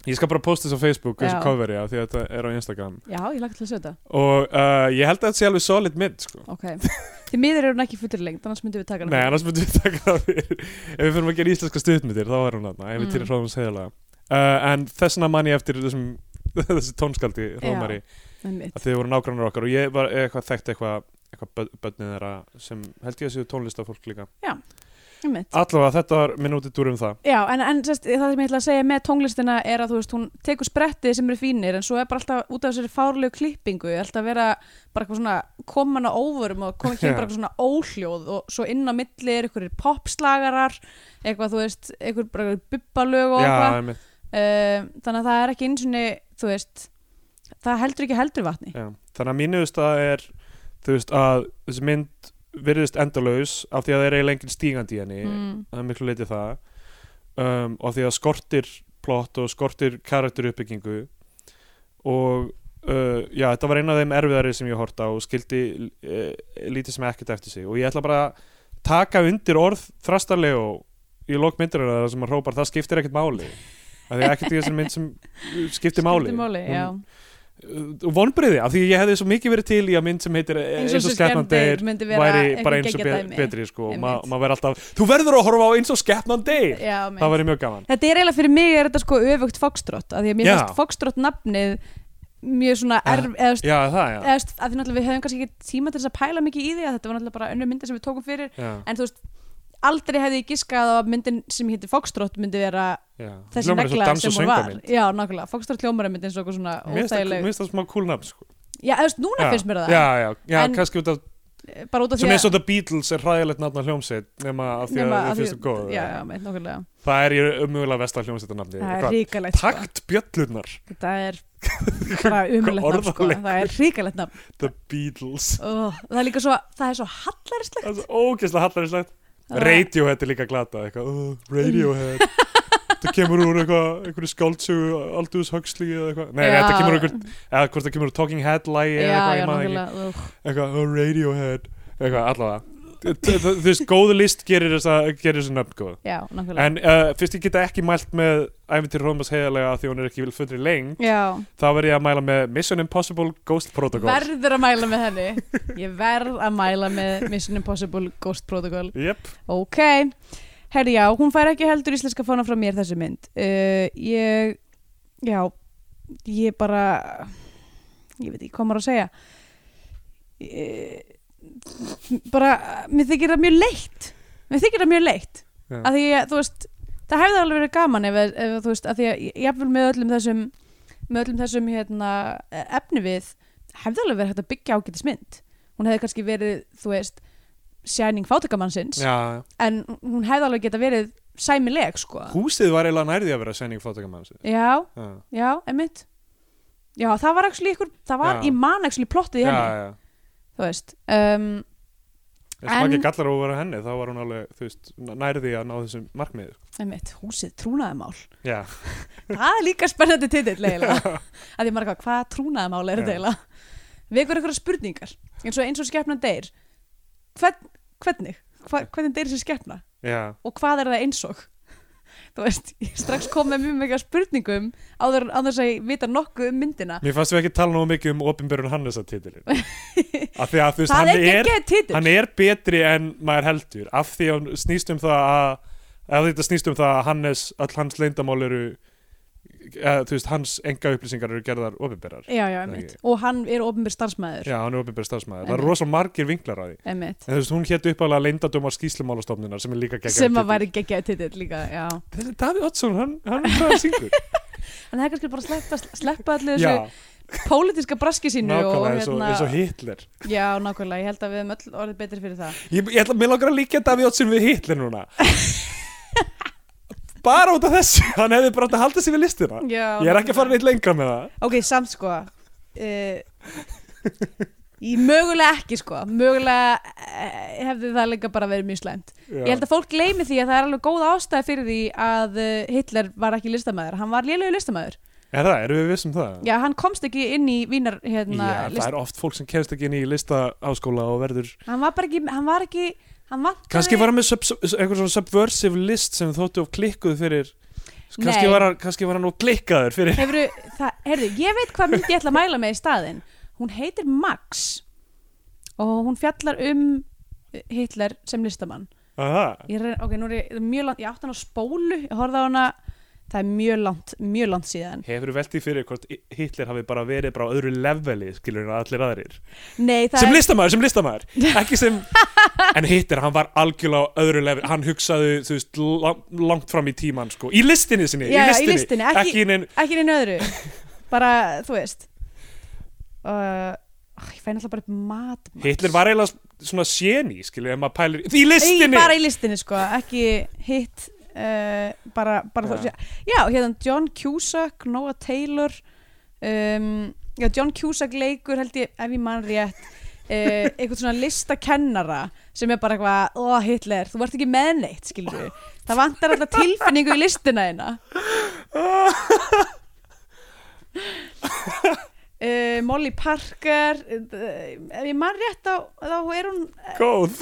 C: ég skal bara posta þessu á Facebook þessu
B: Já.
C: coveri af því að þetta er á Instagram
B: já, ég lagt til að sjá þetta
C: og uh, ég held að þetta sé alveg solid mynd sko.
B: ok, (laughs) því miður er hún ekki fullur lengt annars myndum við taka hana
C: (laughs) nei, annars myndum við taka það fyrir ef við fyrir að gera íslenska stuðmyndir þá er hún þarna, ef við
B: Mm.
C: til að hróðum segjulega uh, en þessna man ég eftir þessum, (laughs) þessi tónskaldi Rómari,
B: einmitt.
C: að þið voru nágrannar okkar og ég var eitthvað þekkt eitthvað eitthvað börn- börnin þeirra sem held ég að séu tónlistafólk líka
B: einmitt.
C: allavega þetta var minútið dúr um það
B: Já, en, en sest, það sem ég ætla að segja með tónlistina er að þú veist, hún tekur spretti sem eru fínir en svo er bara alltaf út af þessari fárlegu klippingu alltaf vera bara eitthvað svona koman á óvörum og koma
C: (laughs)
B: ekki
C: Já.
B: bara eitthvað svona óhljóð og svo inn á milli er einhverjir popslagarar eitthvað, þú veist, einhver bara einhver bubbalög og
C: já,
B: eitthvað
C: einmitt,
B: uh, þannig að það er ekki eins og þú veist, það heldur ekki heldur vatni
C: já. þannig að mínuðust að er þú veist að þessi mynd virðist endalaus af því að það er eiginlega engin stígandi í henni
B: mm,
C: það er miklu leiti það um, og af því að skortir plott og skortir karakteruppbyggingu og uh, já, þetta var eina af þeim erfiðari sem ég horta og skildi uh, lítið sem ekkert eftir sig og ég ætla bara að taka undir orð þrastarlegu í lokmyndurinnar sem hann hrópar, það skiptir ekkert máli af því að ekkert í þessari mynd sem skiptir máli,
B: Skiptir máli já.
C: Hún- og vonbriði, Eh, af því ég hefði svo mikið verið til í að mynd sem heitir eh,
B: eins og
C: skepnan deyr
B: skemmtir myndi vera
C: væri
B: einhver
C: bara eins og
B: geggjað
C: be
B: dæmi.
C: betri sko, og ma
B: Einmitt.
C: maður verður alltaf þú verður að horfa á eins og skepnan deyr
B: Já, mitt.
C: það væri mjög gaman
B: Þetta er eiginlega fyrir mig er þetta sko öfugt fokstrott að því að mér
C: Já.
B: finnst fokstrott nafnið mjög svona
C: Ja.
B: erf eða st-
C: já, það, já,
B: eða st- að því náttúrulega við höfum kannski ekki tíma til þess að pæla mikið í því að þetta var náttúrulega bara önnur myndi sem við tókum fyrir
C: já,
B: en þú veist, aldrei hefði ég giskað á að myndin sem hétti fokstrott myndi vera
C: já.
B: þessi
C: Hljómar eins og
B: negla
C: dans
B: sem
C: og
B: hún var
C: söngvamynd.
B: Já, nákvæmlega, fokstrott hljómar myndi eins og okkur svona
C: Mér finnst það- mér
B: óþægileg
C: finnst það smá cool nafn sko.
B: Já, eða þú veist, núna
C: Já,
B: finnst mér það
C: já, já, já
B: En-
C: kannski út af
B: bara út af
C: sem
B: því
C: eins og The Beatles er hræðilegt nafn á hljómsveit nema af því að
B: nema
C: þið
B: af því-
C: finnst það góð
B: Já, já, mitt nákvæmlega
C: það er ég umögulega vestar hljómsveitarnafni
B: Það er
C: Eitthvað,
B: ríkalegt sko.
C: takt bjöllunar
B: Þetta
C: (laughs)
B: er bara umlegt nafn sko.
C: Orðaleikur.
B: Það er ríkalegt nafn
C: The Beatles
B: oh, það er líka svo, það er svo hallarslegt
C: það er svo ógeðslega hallarslegt Radiohead er líka glata eitthvað, uh, Radiohead þetta kemur úr eitthvað, einhverju skáldsögu Aldous Huxley eða eitthvað nei,
B: Já.
C: þetta kemur úr einhver, eða hvort það kemur úr Talking Head lagi
B: já,
C: eða eitthvað,
B: já,
C: ég maður ekki,
B: nákvæmlega ugh.
C: eitthvað, uh, Radiohead eitthvað, allavega Þ- þ- þú veist, góð list gerir þess að gerir þessu nöfn góð
B: já, nákvæmlega
C: en uh, fyrst ég geta ekki mælt með æfintir Rómas heiðalega því hún er ekki vil fundri leng
B: já,
C: þá verð ég að mæla með Mission Impossible Ghost Protocol
B: verður að mæla með henni
C: (laughs)
B: ég verð að mæla með Mission Impossible Ghost Protocol
C: Jep,
B: ok, herri já, hún fær ekki heldur íslenska fána frá mér þessi mynd uh, ég, já ég bara ég veit ekki hvað maður á að segja ég, bara, mér þykir það mjög leitt mér þykir það mjög leitt
C: Já.
B: að því að þú veist það hefði alveg verið gaman ef, ef þú veist að því að jafnvel með öllum þessum með öllum þessum hérna efni við hefði alveg verið hægt að byggja ágætis mynd hún hefði kannski verið þú veist sæning fátakamannsins
C: já,
B: en hún hefði alveg geta verið sæmileg sko
C: húsið var eiginlega nærði að vera sending fótakamann
B: já,
C: já,
B: já, emitt já, það var actually ykkur, það var
C: Já.
B: í mann actually plottið í
C: já,
B: henni,
C: já
B: þú veist um,
C: Ef en...
B: En-
C: smakið gallar og voru henni þá var hún alveg, þú veist, nærði að ná þessum markmiði. sko.
B: emitt, húsið trúnaðamál
C: Já,
B: Það er líka spennandi titill
C: (laughs)
B: eiginlega að því marga, hvað trúnaðamála er þetta
C: Já.
B: eiginlega vekur einhverja spurningar eins og eins og skepnan deyr Hvern, hvernig, Hva, hvernig deyr þessi skepna
C: já,
B: og hvað er það eins og þú veist, ég strax kom með mjög mega spurningum áður, áður þess að ég vita nokkuð um myndina
C: mér fannst við ekki tala nógu mikið um opinberun Hannesa
B: (laughs)
C: titilin. af því að þú veist,
B: það
C: hann
B: er ekki
C: er,
B: ekki titill
C: hann er betri en maður heldur, af því að hann snýst um það að, að þetta snýst um það að Hannes, all hans leyndamál eru, eða, þú veist, hans enga upplýsingar eru gerðar opinberar.
B: já, já, einmitt, og hann er ofinbjör starfsmæður
C: Já, hann er opinber stafsmæður. Það
B: Einmitt.
C: eru rosalega margir vinglar að því.
B: einmitt,
C: En þú veist, hún hétt uppalega leyndadómar skýslumálastofnunar sem er líka geggjað
B: sem
C: titill.
B: að væri geggjaði titill líka, já en
C: Þessi Davíð Oddsson, hann, hann er hvað að syngur.
B: það er kannski bara að sleppa, sleppa allir
C: Já.
B: þessu pólitíska braski sínu og,
C: Nákvæmlega, eins og,
B: hérna,
C: eins og Hitler
B: Já, nákvæmlega, ég held að við höfum öll orðið betri fyrir það
C: Ég, ég ætla, mér langar að líka Davíð Oddsson við Hitler
B: (laughs)
C: núna Bara út af þessu Hann hefði bara átt að halda sig við listina
B: Já,
C: Ég er ekki að fara neitt lengra með það
B: Ok, samt sko uh, Ég mögulega ekki sko Mögulega uh, hefði það líka bara verið mjög slæmt
C: Já.
B: Ég held að fólk gleymi því að það er alveg góð ástæð fyrir því að eh, Hitler var ekki listamæður Hann var lélegu listamæður
C: Er það, erum við vissum það?
B: Já, hann komst ekki inn í vínar hérna,
C: það er oft fólk sem kemst ekki inn í listaháskóla og verður
B: Hann var bara ekki Hann var ekki Hann vantaði
C: Kannski var hann með sub, sub, einhver svona subversive list sem þóttu of klikkuð fyrir Kannski
B: Nei.
C: var, hann, kannski var hann of klikkaður
B: (laughs)
C: fyrir
B: Hefurðu, það, heyrðu, ég veit hvað myndi ég ætla að mæla með í staðinn. Hún heitir Max og hún fjallar um Hitler sem listamann.
C: Aha,
B: Ég reyna, ok, nú er ég mjög langt, ég átti hann á spólu, ég horfði á hana það er mjög langt, mjög langt síðan
C: Hefur veltið fyrir hvort Hitler hafi bara verið bara á öðru leveli skilur en allir aðrir
B: Nei, það er,
C: sem listamaður, sem
B: (laughs)
C: listamaður ekki sem, en Hitler hann var algjörlega á öðru leveli, hann hugsaði þú veist, lang, langt fram í tíman sko, í listinni sinni,
B: Já, já, í
C: í
B: listinni,
C: listinni,
B: ekki-
C: ekki inn
B: ekki neina öðru bara, þú veist uh, ég fæn alltaf bara upp mat maður.
C: Hitler var eiginlega svona séni, skilur, ef maður pælir í listinni,
B: Nei, bara í listinni sko, ekki hitt uh, bara, bara
C: Já.
B: ja. já, hérna John Cusack Noah Taylor um, já, John Cusack leikur held ég, ef ég man rétt
C: (laughs)
B: uh, eitthvað svona listakennara sem er bara eitthvað, ó Hitler þú ert ekki með neitt, skilur við það vantar alltaf tilfinningu í listina þína
C: (laughs)
B: Uh, Molly Parker uh, ef ég man rétt á, þá er hún
C: góð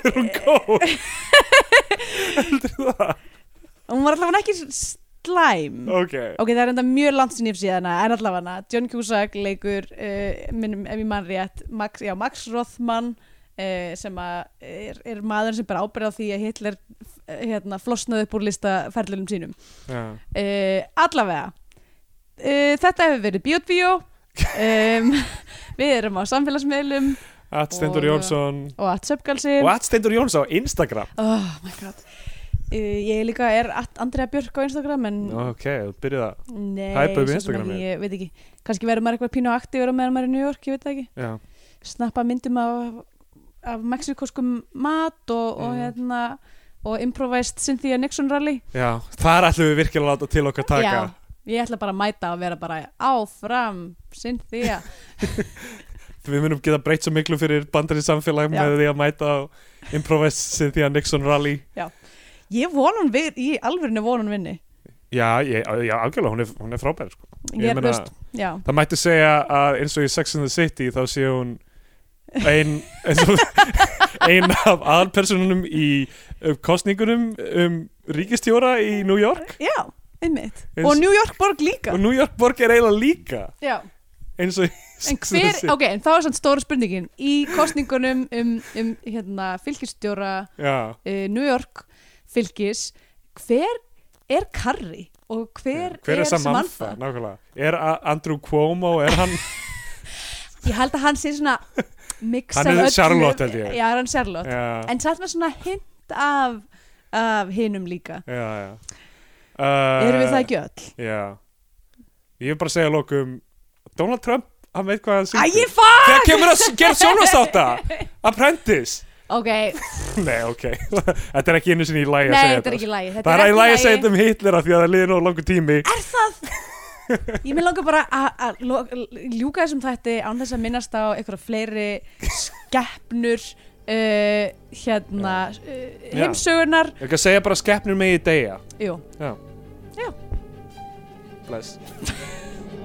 C: (laughs) er hún góð heldur það,
B: hún var allavega ekki slæm
C: ok
B: ok, það er enda mjög langt sinni yfir síðana en allavega, John Cusack leikur uh, minnum ef ég mann rétt Max, já, Max Rothman uh, sem að er, er maður sem bara ábyrða því að Hitler uh, hérna, flosnaði upp úr listaferðlunum sínum
C: já.
B: uh, allavega uh, þetta hefur verið Bjótbíó um, við erum á samfélagsmiðlum
C: at Stendur
B: Og-
C: Jónsson
B: og að söpgalsin
C: og at Stendur Jónsson á Instagram
B: oh my god Uh, ég líka er Andrea Björk á Instagram en
C: ok, þú byrjuð það
B: Nei,
C: Hype upp
B: svo sem
C: Instagramið.
B: ekki, Ég veit ekki, kannski verður maður eitthvað pínu aktífur á meðan maður er í New York, ég veit það ekki
C: já.
B: Snappa myndum af, af mexikoskum mat og, og
C: Mm.
B: hérna og improvised Cynthia Nixon rally
C: já, þar ætlum við virkilega að láta til okkar taka
B: Já, ég ætla bara að mæta og vera bara áfram Cynthia
C: við munum geta breytt svo miklu fyrir bandari samfélag
B: Já.
C: með því að mæta á Improvise Cynthia Nixon Rally
B: Ég vonum við, í alvörinu vonum vinni
C: Já, ég, já algjörlega, hún er, hún er frábær sko. Ég
B: Ég er
C: meina-
B: veist, já
C: Það mætti segja að eins og í Sex and the City þá sé hún ein, eins og, (laughs) ein af aðalpersonunum í um, kostningunum um ríkistjóra í New York
B: Já, einmitt
C: Eins-
B: Og New York borg líka
C: og New York borg er eiginlega líka
B: Já
C: eins og í
B: En
C: Sex and the
B: hver,
C: City
B: ok, en þá er svona stóra spurningin í kostningunum um, um hérna, fylgistjóra
C: Já,
B: uh, New York fylgis hver er Karri og hver,
C: hver er Samantha? Nákvæmlega Er A- Andrew Cuomo, er
B: (laughs)
C: hann
B: ég held að hann sé svona mix
C: Hann
B: af
C: er
B: öllu.
C: Charlotte, held ég.
B: já, hann er Charlotte
C: Já.
B: en satt með svona hint af, af hinum líka
C: já, já. Uh,
B: eru við það ekki öll?
C: Já. Ég vil bara segja að lokum, Donald Trump, hann veit hvað hann
B: Æ,
C: syngur.
B: ég fann!
C: Þegar kemur að gera sjónastáta,
B: (laughs)
C: Apprentice.
B: Ok,
C: Nei, ok, (laughs) þetta er ekki einu sinni í lagi að
B: nei,
C: segja
B: þetta er ekki lægi
C: Það er í lagi að segja þetta um Hitler af því að það liði nóg langur tími.
B: (laughs) Er það? Ég með langar bara að- að lo- ljúka þessum þætti án þess að minnast á einhverja fleiri skeppnur uh, hérna uh,
C: Já.
B: heimsögunar
C: Ég kan segja bara skeppnur með í degja.
B: Jú,
C: Já.
B: Já.
C: Bless.